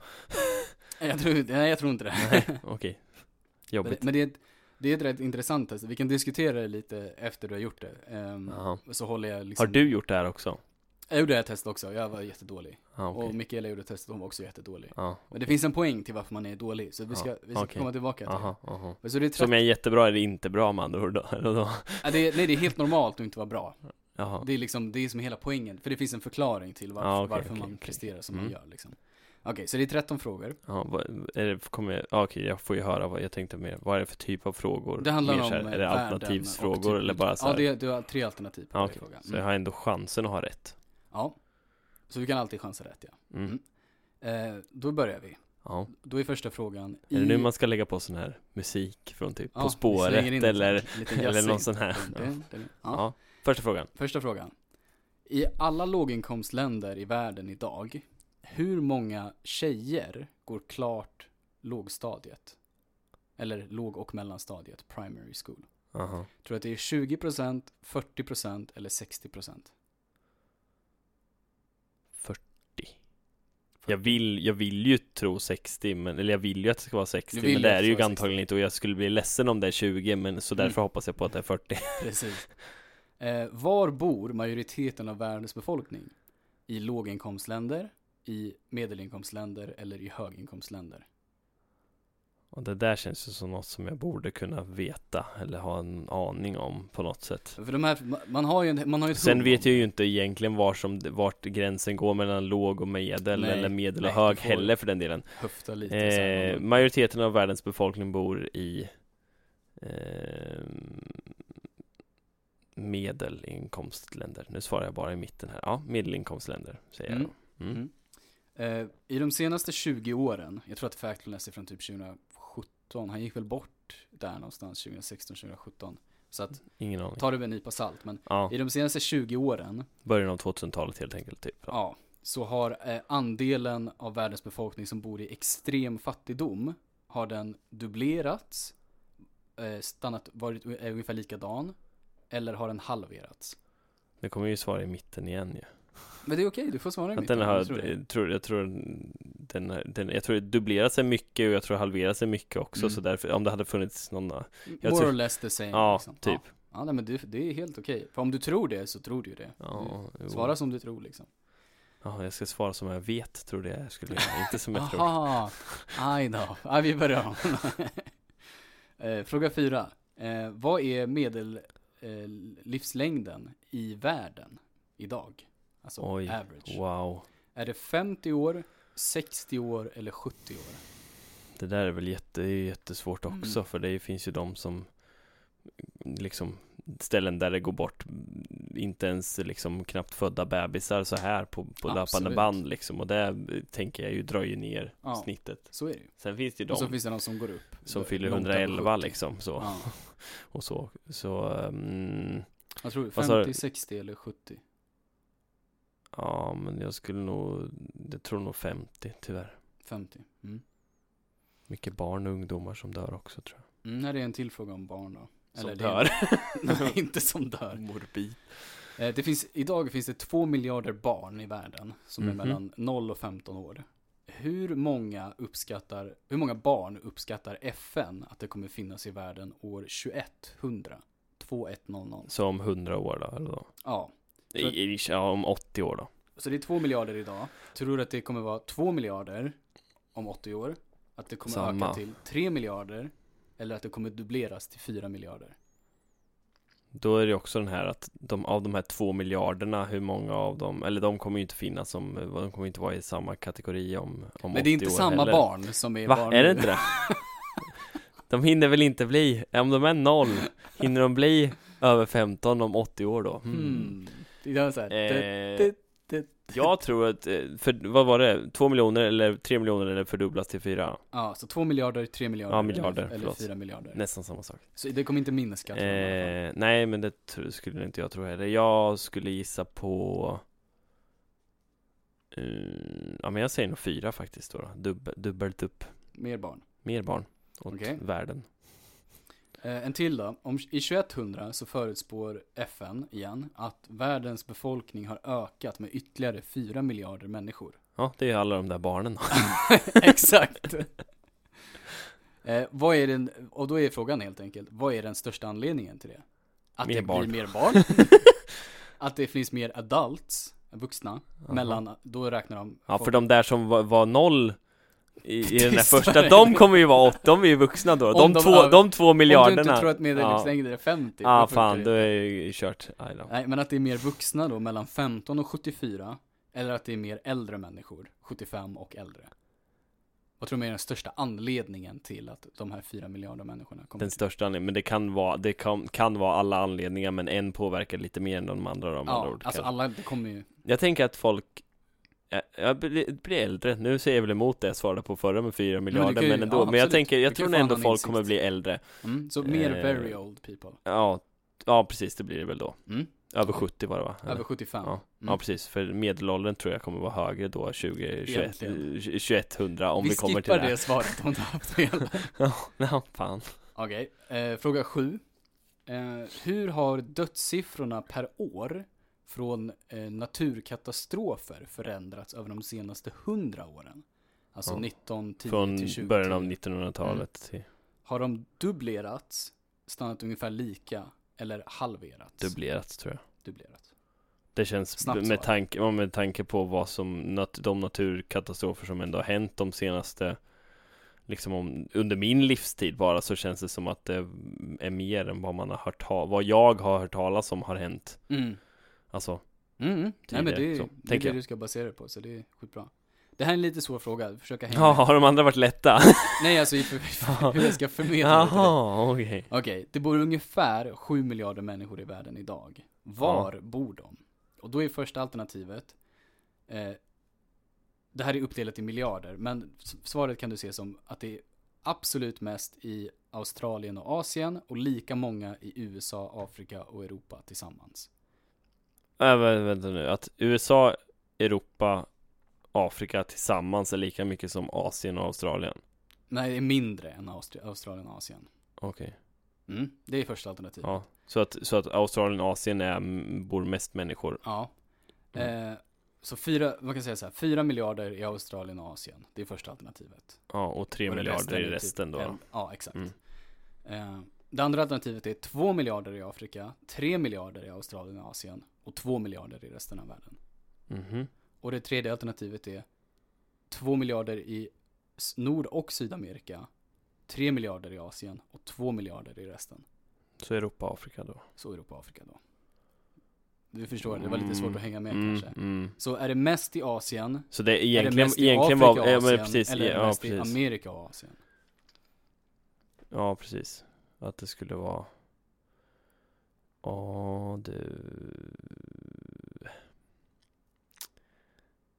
[SPEAKER 2] Eh, Jag tror, nej, jag tror inte det.
[SPEAKER 1] Nej, okej.
[SPEAKER 2] men
[SPEAKER 1] Jobbigt.
[SPEAKER 2] [LAUGHS] men det, är ett, det är ett rätt intressant test. Vi kan diskutera det lite efter du har gjort det. Ehm,
[SPEAKER 1] Jaha.
[SPEAKER 2] Så håller jag liksom...
[SPEAKER 1] Har du gjort det här också?
[SPEAKER 2] Jag gjorde det här testet också, jag var jättedålig.
[SPEAKER 1] Ja, okej.
[SPEAKER 2] Och Mikaela gjorde testet, hon var också jättedålig.
[SPEAKER 1] Ja,
[SPEAKER 2] Men det finns en poäng till varför man är dålig, så vi ska,
[SPEAKER 1] Ja,
[SPEAKER 2] vi ska
[SPEAKER 1] okej.
[SPEAKER 2] komma tillbaka till
[SPEAKER 1] aha, aha.
[SPEAKER 2] det. Så det är,
[SPEAKER 1] Som
[SPEAKER 2] trött,
[SPEAKER 1] jag är jättebra eller inte bra med andra ord då? [LAUGHS] eller då?
[SPEAKER 2] ja, det är, nej, det är helt normalt att inte vara bra.
[SPEAKER 1] Jaha.
[SPEAKER 2] Det är liksom, det är som hela poängen, för det finns en förklaring till varför,
[SPEAKER 1] Ja, okej,
[SPEAKER 2] varför
[SPEAKER 1] okej,
[SPEAKER 2] man
[SPEAKER 1] okej.
[SPEAKER 2] presterar som man
[SPEAKER 1] Mm.
[SPEAKER 2] gör liksom. Okej, så det är 13 frågor.
[SPEAKER 1] Ja, vad, är det, kommer jag, ja, okej, jag får ju höra vad jag tänkte mer. Vad är det för typ av frågor?
[SPEAKER 2] Det handlar
[SPEAKER 1] mer
[SPEAKER 2] om
[SPEAKER 1] så här,
[SPEAKER 2] eh,
[SPEAKER 1] Är det
[SPEAKER 2] världen och
[SPEAKER 1] alternativsfrågor
[SPEAKER 2] typ-
[SPEAKER 1] eller bara så
[SPEAKER 2] Ja,
[SPEAKER 1] här?
[SPEAKER 2] det, är- du har tre alternativ på
[SPEAKER 1] Ja,
[SPEAKER 2] varje
[SPEAKER 1] okej.
[SPEAKER 2] fråga.
[SPEAKER 1] Så jag
[SPEAKER 2] Mm.
[SPEAKER 1] har ändå chansen att ha rätt.
[SPEAKER 2] Ja. Så du kan alltid chansa rätt ja.
[SPEAKER 1] Mm.
[SPEAKER 2] Mm. Eh, då börjar vi.
[SPEAKER 1] Ja.
[SPEAKER 2] Då är första frågan
[SPEAKER 1] Är det
[SPEAKER 2] i-
[SPEAKER 1] nu man ska lägga på sån här musik från typ
[SPEAKER 2] Ja,
[SPEAKER 1] På
[SPEAKER 2] vi
[SPEAKER 1] spåret
[SPEAKER 2] slänger in en
[SPEAKER 1] eller,
[SPEAKER 2] sån liten
[SPEAKER 1] eller någon sån
[SPEAKER 2] jazzsyn.
[SPEAKER 1] här? Ja.
[SPEAKER 2] Dun, dun. Ja.
[SPEAKER 1] Ja. Första frågan.
[SPEAKER 2] Första frågan. I alla låginkomstländer i världen idag, hur många tjejer går klart lågstadiet? Eller låg och mellanstadiet, primary school.
[SPEAKER 1] Aha.
[SPEAKER 2] Tror du att det är 20%, 40% eller 60%?
[SPEAKER 1] Jag vill, jag vill ju tro 60, men, eller jag vill ju att det ska vara 60,
[SPEAKER 2] Du vill
[SPEAKER 1] men
[SPEAKER 2] ju
[SPEAKER 1] det
[SPEAKER 2] att
[SPEAKER 1] är
[SPEAKER 2] det
[SPEAKER 1] det ju
[SPEAKER 2] ska vara Mm.
[SPEAKER 1] antagligen inte och jag skulle bli ledsen om det är 20, men så därför hoppas jag på att det är 40. [LAUGHS]
[SPEAKER 2] Precis. Eh, var bor majoriteten av världens befolkning? I låginkomstländer, i medelinkomstländer eller i höginkomstländer?
[SPEAKER 1] Och det där känns ju som något som jag borde kunna veta eller ha en aning om på något sätt.
[SPEAKER 2] För de här, ma- man har ju, en, man har ju ett hum
[SPEAKER 1] Sen
[SPEAKER 2] om
[SPEAKER 1] vet
[SPEAKER 2] det.
[SPEAKER 1] jag ju inte egentligen var som, vart gränsen går mellan låg och medel
[SPEAKER 2] Nej,
[SPEAKER 1] eller medel och
[SPEAKER 2] nej,
[SPEAKER 1] hög
[SPEAKER 2] du får-
[SPEAKER 1] heller för den delen.
[SPEAKER 2] höfta lite. så här,
[SPEAKER 1] Eh,
[SPEAKER 2] man-
[SPEAKER 1] majoriteten av världens befolkning bor i ehm, medelinkomstländer. Nu svarar jag bara i mitten här. Ja, medelinkomstländer säger jag
[SPEAKER 2] Mm.
[SPEAKER 1] då. Mm.
[SPEAKER 2] Mm. Eh, I de senaste 20 åren, jag tror att Factfulness är från typ 2017, han gick väl bort gjort där någonstans 2016, 2017. Så att
[SPEAKER 1] Ingen aning.
[SPEAKER 2] ta det med en nypa salt. Men
[SPEAKER 1] Ja,
[SPEAKER 2] i de senaste 20 åren,
[SPEAKER 1] början av 2000-talet helt enkelt typ. Ja.
[SPEAKER 2] ja, så har eh, andelen av världens befolkning som bor i extrem fattigdom, har den dubblerats, eh, stannat, varit u- är ungefär likadan, eller har den halverats?
[SPEAKER 1] Det kommer ju svara i mitten igen ju.
[SPEAKER 2] Men det är okej, du får svara i
[SPEAKER 1] Att
[SPEAKER 2] mitten,
[SPEAKER 1] den har,
[SPEAKER 2] jag tror det.
[SPEAKER 1] jag tror, jag tror den, den, jag tror det dubblerar sig mycket och jag tror halverar sig mycket också
[SPEAKER 2] Mm.
[SPEAKER 1] så därför, om det hade funnits någon, ja, jag
[SPEAKER 2] More
[SPEAKER 1] tror-
[SPEAKER 2] or less the same. liksom.
[SPEAKER 1] typ.
[SPEAKER 2] Ja, ja nej, men det, det är helt okej. För om du tror det så tror du ju det.
[SPEAKER 1] Ja,
[SPEAKER 2] Du-
[SPEAKER 1] jo.
[SPEAKER 2] Mm. Svara som du tror liksom.
[SPEAKER 1] ja, jag ska svara som jag vet tror det jag skulle göra, inte som
[SPEAKER 2] [LAUGHS]
[SPEAKER 1] jag tror.
[SPEAKER 2] Aha, I know. Ja, vi börjar om. [LAUGHS] Eh, Fråga fyra. Eh, vad är medellivslängden i världen idag? Alltså
[SPEAKER 1] Oj.
[SPEAKER 2] average.
[SPEAKER 1] Wow,
[SPEAKER 2] Är det 50 år, 60 år eller 70 år?
[SPEAKER 1] det där är väl jätte, det är jättesvårt också
[SPEAKER 2] Mm.
[SPEAKER 1] för det finns ju de som liksom ställen där det går bort mm, inte ens liksom knappt födda bebisar så här på, på löpande
[SPEAKER 2] Absolut.
[SPEAKER 1] band liksom och det eh, tänker jag ju drar ju ner
[SPEAKER 2] Ja.
[SPEAKER 1] snittet.
[SPEAKER 2] Så är det ju.
[SPEAKER 1] Sen finns det ju
[SPEAKER 2] Och så
[SPEAKER 1] de
[SPEAKER 2] finns det någon som går upp. eh,
[SPEAKER 1] som fyller
[SPEAKER 2] långt över
[SPEAKER 1] 111
[SPEAKER 2] 70.
[SPEAKER 1] liksom så.
[SPEAKER 2] Ja,
[SPEAKER 1] och så. Så, mm,
[SPEAKER 2] jag tror
[SPEAKER 1] Vad sa du?
[SPEAKER 2] 50, 60 eller 70.
[SPEAKER 1] ja men jag skulle nog, jag tror nog 50 tyvärr.
[SPEAKER 2] 50. Mm.
[SPEAKER 1] Mycket barn och ungdomar som dör också tror jag.
[SPEAKER 2] Mm, här är en till fråga om barn då.
[SPEAKER 1] Som
[SPEAKER 2] det är-
[SPEAKER 1] dör.
[SPEAKER 2] [LAUGHS] Nej, inte som dör.
[SPEAKER 1] Morbid.
[SPEAKER 2] Eh, Det finns, idag finns det två miljarder barn i världen som
[SPEAKER 1] Mhm.
[SPEAKER 2] är mellan 0 och 15 år. Hur många, uppskattar, hur många barn uppskattar FN att det kommer finnas i världen år 2100? 2100.
[SPEAKER 1] Så om 100 år då, eller då?
[SPEAKER 2] Ja,
[SPEAKER 1] I, i, ja, om 80 år då.
[SPEAKER 2] så det är två miljarder idag. Tror du att det kommer vara två miljarder om 80 år? Att det kommer
[SPEAKER 1] Samma.
[SPEAKER 2] öka till 3 miljarder? Eller att det kommer dubbleras till 4 miljarder?
[SPEAKER 1] Då är det också den här att de, av de här två miljarderna, hur många av dem, eller de kommer ju inte finnas som, de kommer inte vara i samma kategori om, om
[SPEAKER 2] Men det är
[SPEAKER 1] 80
[SPEAKER 2] inte
[SPEAKER 1] år
[SPEAKER 2] samma
[SPEAKER 1] heller.
[SPEAKER 2] barn som är barn
[SPEAKER 1] Va, är
[SPEAKER 2] nu.
[SPEAKER 1] det
[SPEAKER 2] [LAUGHS]
[SPEAKER 1] inte det? De hinner väl inte bli, om de är noll, hinner de bli över 15 om 80 år då? Hmm.
[SPEAKER 2] Mm. Det är så här,
[SPEAKER 1] Eh,
[SPEAKER 2] det-
[SPEAKER 1] jag tror att, eh, för, vad var det, två miljoner eller tre miljoner eller fördubblas till fyra?
[SPEAKER 2] Ja, så två miljarder, tre miljarder,
[SPEAKER 1] Ja, miljarder,
[SPEAKER 2] eller, eller
[SPEAKER 1] förlåt.
[SPEAKER 2] fyra miljarder.
[SPEAKER 1] Nästan samma sak.
[SPEAKER 2] Så det kommer inte minska. tror jag, i alla fall.
[SPEAKER 1] Eh, nej men det tro, skulle inte jag tro heller. Jag skulle gissa på eh, Ja men jag säger nog fyra faktiskt då, då. Dubbel, dubbelt upp.
[SPEAKER 2] Mer barn.
[SPEAKER 1] Mer barn åt
[SPEAKER 2] Okej.
[SPEAKER 1] världen.
[SPEAKER 2] Eh, en till då. Om, I 2100 så förutspår FN igen att världens befolkning har ökat med ytterligare fyra miljarder människor. [LAUGHS]
[SPEAKER 1] Ja, det är ju alla de där barnen då.
[SPEAKER 2] Exakt. eh, vad är den, och då är frågan helt enkelt, vad är den största anledningen till det? Att
[SPEAKER 1] Mer
[SPEAKER 2] det
[SPEAKER 1] barn.
[SPEAKER 2] blir mer
[SPEAKER 1] [LAUGHS]
[SPEAKER 2] barn? att det finns mer adults, vuxna, mellan, då räknar de
[SPEAKER 1] Ja
[SPEAKER 2] folk-
[SPEAKER 1] för de där som var, var noll i, i den där
[SPEAKER 2] Tyst var
[SPEAKER 1] första,
[SPEAKER 2] det.
[SPEAKER 1] de kommer ju vara åt, de är ju vuxna då.
[SPEAKER 2] Om
[SPEAKER 1] De,
[SPEAKER 2] de
[SPEAKER 1] två,
[SPEAKER 2] över-
[SPEAKER 1] de två miljarderna.
[SPEAKER 2] Om du inte tror att medellivslängden är 50.
[SPEAKER 1] Ja, ah,
[SPEAKER 2] då funkar Mm.
[SPEAKER 1] fan,
[SPEAKER 2] det.
[SPEAKER 1] då är jag ju kört. Aj då.
[SPEAKER 2] Nej, men att det är mer vuxna då, mellan 15 och 74. Eller att det är mer äldre människor, 75 och äldre. Vad tror du är den största anledningen till att de här 4 miljarder människorna kommer
[SPEAKER 1] Den
[SPEAKER 2] till?
[SPEAKER 1] största anledningen, men det kan vara, det kan, kan vara alla anledningar, men en påverkar lite mer än de andra. De andra
[SPEAKER 2] Ja,
[SPEAKER 1] ord,
[SPEAKER 2] alltså
[SPEAKER 1] kanske.
[SPEAKER 2] alla, det kommer ju,
[SPEAKER 1] Jag tänker att folk jag- jag blir blir äldre, nu säger jag väl emot det jag svarade på förra med 4 miljarder
[SPEAKER 2] kan ju-
[SPEAKER 1] men ändå,
[SPEAKER 2] ja,
[SPEAKER 1] men jag
[SPEAKER 2] absolut.
[SPEAKER 1] tänker,
[SPEAKER 2] Du
[SPEAKER 1] jag
[SPEAKER 2] kan ju
[SPEAKER 1] tror
[SPEAKER 2] få
[SPEAKER 1] ändå
[SPEAKER 2] annan
[SPEAKER 1] folk
[SPEAKER 2] insikt.
[SPEAKER 1] kommer bli äldre
[SPEAKER 2] mm, så mer
[SPEAKER 1] Eh,
[SPEAKER 2] very old people.
[SPEAKER 1] Ja, ja precis det blir det väl då
[SPEAKER 2] Mm,
[SPEAKER 1] Över 70 var det va? Eller?
[SPEAKER 2] över 75.
[SPEAKER 1] Ja.
[SPEAKER 2] Mm.
[SPEAKER 1] ja precis, för medelåldern tror jag kommer vara högre då 20, 21, 2100 om vi,
[SPEAKER 2] vi
[SPEAKER 1] kommer till
[SPEAKER 2] skippar
[SPEAKER 1] det
[SPEAKER 2] det,
[SPEAKER 1] här.
[SPEAKER 2] svaret om du har haft
[SPEAKER 1] [LAUGHS]
[SPEAKER 2] fel.
[SPEAKER 1] Ja, fan
[SPEAKER 2] Okej, eh, fråga sju. Eh, hur har dödssiffrorna per år från eh, naturkatastrofer förändrats över de senaste hundra åren? Alltså
[SPEAKER 1] Ja.
[SPEAKER 2] 1910
[SPEAKER 1] Från
[SPEAKER 2] till Mm. 2010.
[SPEAKER 1] början av 1900-talet till
[SPEAKER 2] Har de dubblerats, stannat ungefär lika eller halverats?
[SPEAKER 1] dubblerats tror jag
[SPEAKER 2] Dubblerat.
[SPEAKER 1] Det känns
[SPEAKER 2] Snabbt
[SPEAKER 1] med
[SPEAKER 2] svar.
[SPEAKER 1] tanke, ja, med tanke på vad som, nat- de naturkatastrofer som ändå har hänt de senaste Liksom om, under min livstid bara så känns det som att det är mer än vad man har hört ta- vad jag har hört talas om har hänt
[SPEAKER 2] Mm.
[SPEAKER 1] Alltså,
[SPEAKER 2] Mm. mm. Nej men
[SPEAKER 1] Tidigare,
[SPEAKER 2] det är,
[SPEAKER 1] så,
[SPEAKER 2] det, är
[SPEAKER 1] tänker
[SPEAKER 2] det
[SPEAKER 1] jag.
[SPEAKER 2] du ska basera det på, så det är skitbra. Det här är en lite svår fråga,
[SPEAKER 1] [LAUGHS]
[SPEAKER 2] försöka hänga
[SPEAKER 1] ja
[SPEAKER 2] med.
[SPEAKER 1] har de andra varit lätta?
[SPEAKER 2] Eh. [LAUGHS] Nej alltså i för, hur jag ska förmedla det till dig.
[SPEAKER 1] Jaha, okej
[SPEAKER 2] Okej, det bor ungefär 7 miljarder människor i världen idag. Var bor de? Och då är första alternativet, eh, det här är uppdelat i miljarder, men s- svaret kan du se som att det är absolut mest i Australien och Asien och lika många i USA, Afrika och Europa tillsammans.
[SPEAKER 1] Äh, vä- vänta nu, att USA, Europa, Afrika tillsammans är lika mycket som Asien och Australien.
[SPEAKER 2] Nej, det är mindre än Austra- Australien och Asien.
[SPEAKER 1] Okej.
[SPEAKER 2] Mm, det är första alternativet.
[SPEAKER 1] Ja. Så att, så att Australien och Asien är, m- bor mest människor.
[SPEAKER 2] Ja.
[SPEAKER 1] Mm.
[SPEAKER 2] Eh, så fyra, man kan säga så här, fyra miljarder i Australien och Asien. Det är första alternativet.
[SPEAKER 1] Ja, och tre
[SPEAKER 2] Och det
[SPEAKER 1] miljarder
[SPEAKER 2] resten är
[SPEAKER 1] i
[SPEAKER 2] typ
[SPEAKER 1] resten då.
[SPEAKER 2] en- ja, exakt.
[SPEAKER 1] Mm.
[SPEAKER 2] Eh, det andra alternativet är två miljarder i Afrika, tre miljarder i Australien och Asien och två miljarder i resten av världen.
[SPEAKER 1] Mhm.
[SPEAKER 2] Och det tredje alternativet är två miljarder i S- Nord och Sydamerika, tre miljarder i Asien och två miljarder i resten.
[SPEAKER 1] Så Europa och Afrika då.
[SPEAKER 2] Så Europa och Afrika då. Du förstår, det var lite svårt att hänga med
[SPEAKER 1] Mm,
[SPEAKER 2] kanske.
[SPEAKER 1] mm.
[SPEAKER 2] Så är det mest i Asien,
[SPEAKER 1] Så det är
[SPEAKER 2] Är det
[SPEAKER 1] egentligen,
[SPEAKER 2] mest i
[SPEAKER 1] egentligen
[SPEAKER 2] Afrika och
[SPEAKER 1] var, ja men
[SPEAKER 2] Asien,
[SPEAKER 1] precis,
[SPEAKER 2] eller är det
[SPEAKER 1] ja
[SPEAKER 2] mest i
[SPEAKER 1] precis.
[SPEAKER 2] Amerika och Asien?
[SPEAKER 1] Ja precis. Att det skulle vara. Ja du.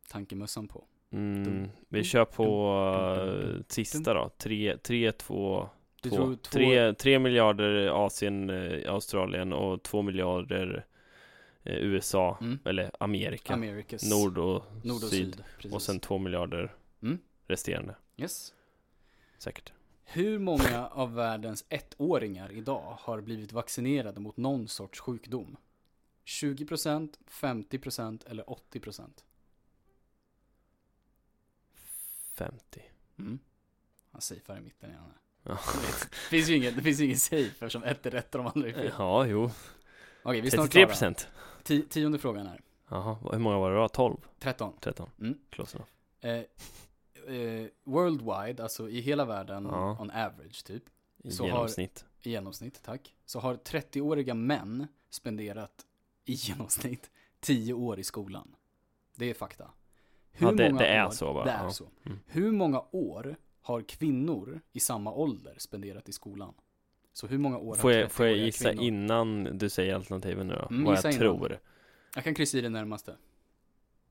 [SPEAKER 2] Tankemössan på.
[SPEAKER 1] Mm,
[SPEAKER 2] Dum,
[SPEAKER 1] vi kör på
[SPEAKER 2] dum, dum, dum,
[SPEAKER 1] eh, sista då. tre tre två
[SPEAKER 2] Du
[SPEAKER 1] två.
[SPEAKER 2] tror två-
[SPEAKER 1] Tre- tre miljarder Asien, eh, Australien och två miljarder eh, USA,
[SPEAKER 2] Mm.
[SPEAKER 1] eller Amerika.
[SPEAKER 2] Amerikas
[SPEAKER 1] Nord och
[SPEAKER 2] nord och
[SPEAKER 1] syd.
[SPEAKER 2] syd. precis.
[SPEAKER 1] Och sen två miljarder
[SPEAKER 2] Mm.
[SPEAKER 1] resterande,
[SPEAKER 2] yes.
[SPEAKER 1] säkert.
[SPEAKER 2] Hur många av världens ettåringar idag har blivit vaccinerade mot någon sorts sjukdom? 20%, 50% eller 80%?
[SPEAKER 1] 50.
[SPEAKER 2] Mm. Han safear i mitten igen. här.
[SPEAKER 1] Ja.
[SPEAKER 2] Det finns ju ingen, det finns ju ingen safe eftersom ett är rätt och de andra är fel.
[SPEAKER 1] Ja, jo.
[SPEAKER 2] Okej, vi är snart
[SPEAKER 1] 33
[SPEAKER 2] klara.
[SPEAKER 1] procent.
[SPEAKER 2] Ti- tionde frågan här.
[SPEAKER 1] Jaha, vad- hur många var det då? 12?
[SPEAKER 2] 13.
[SPEAKER 1] 13?
[SPEAKER 2] Mm.
[SPEAKER 1] Close enough.
[SPEAKER 2] Eh, eh, worldwide, alltså i hela världen,
[SPEAKER 1] Ja.
[SPEAKER 2] on average typ,
[SPEAKER 1] I
[SPEAKER 2] Så har-
[SPEAKER 1] genomsnitt.
[SPEAKER 2] i genomsnitt, tack, så har 30-åriga män spenderat i genomsnitt 10 år i skolan. Det är fakta.
[SPEAKER 1] Ja, det- det är
[SPEAKER 2] år,
[SPEAKER 1] så bara,
[SPEAKER 2] Det är
[SPEAKER 1] ja.
[SPEAKER 2] så.
[SPEAKER 1] Mm.
[SPEAKER 2] Hur många år har kvinnor i samma ålder spenderat i skolan? Så hur många år
[SPEAKER 1] Får
[SPEAKER 2] har
[SPEAKER 1] jag, får jag
[SPEAKER 2] 30-åriga
[SPEAKER 1] gissa
[SPEAKER 2] kvinnor?
[SPEAKER 1] innan du säger alternativen nu då?
[SPEAKER 2] Mm,
[SPEAKER 1] vad
[SPEAKER 2] gissa
[SPEAKER 1] jag
[SPEAKER 2] innan.
[SPEAKER 1] tror?
[SPEAKER 2] Jag kan kryssa i det närmaste.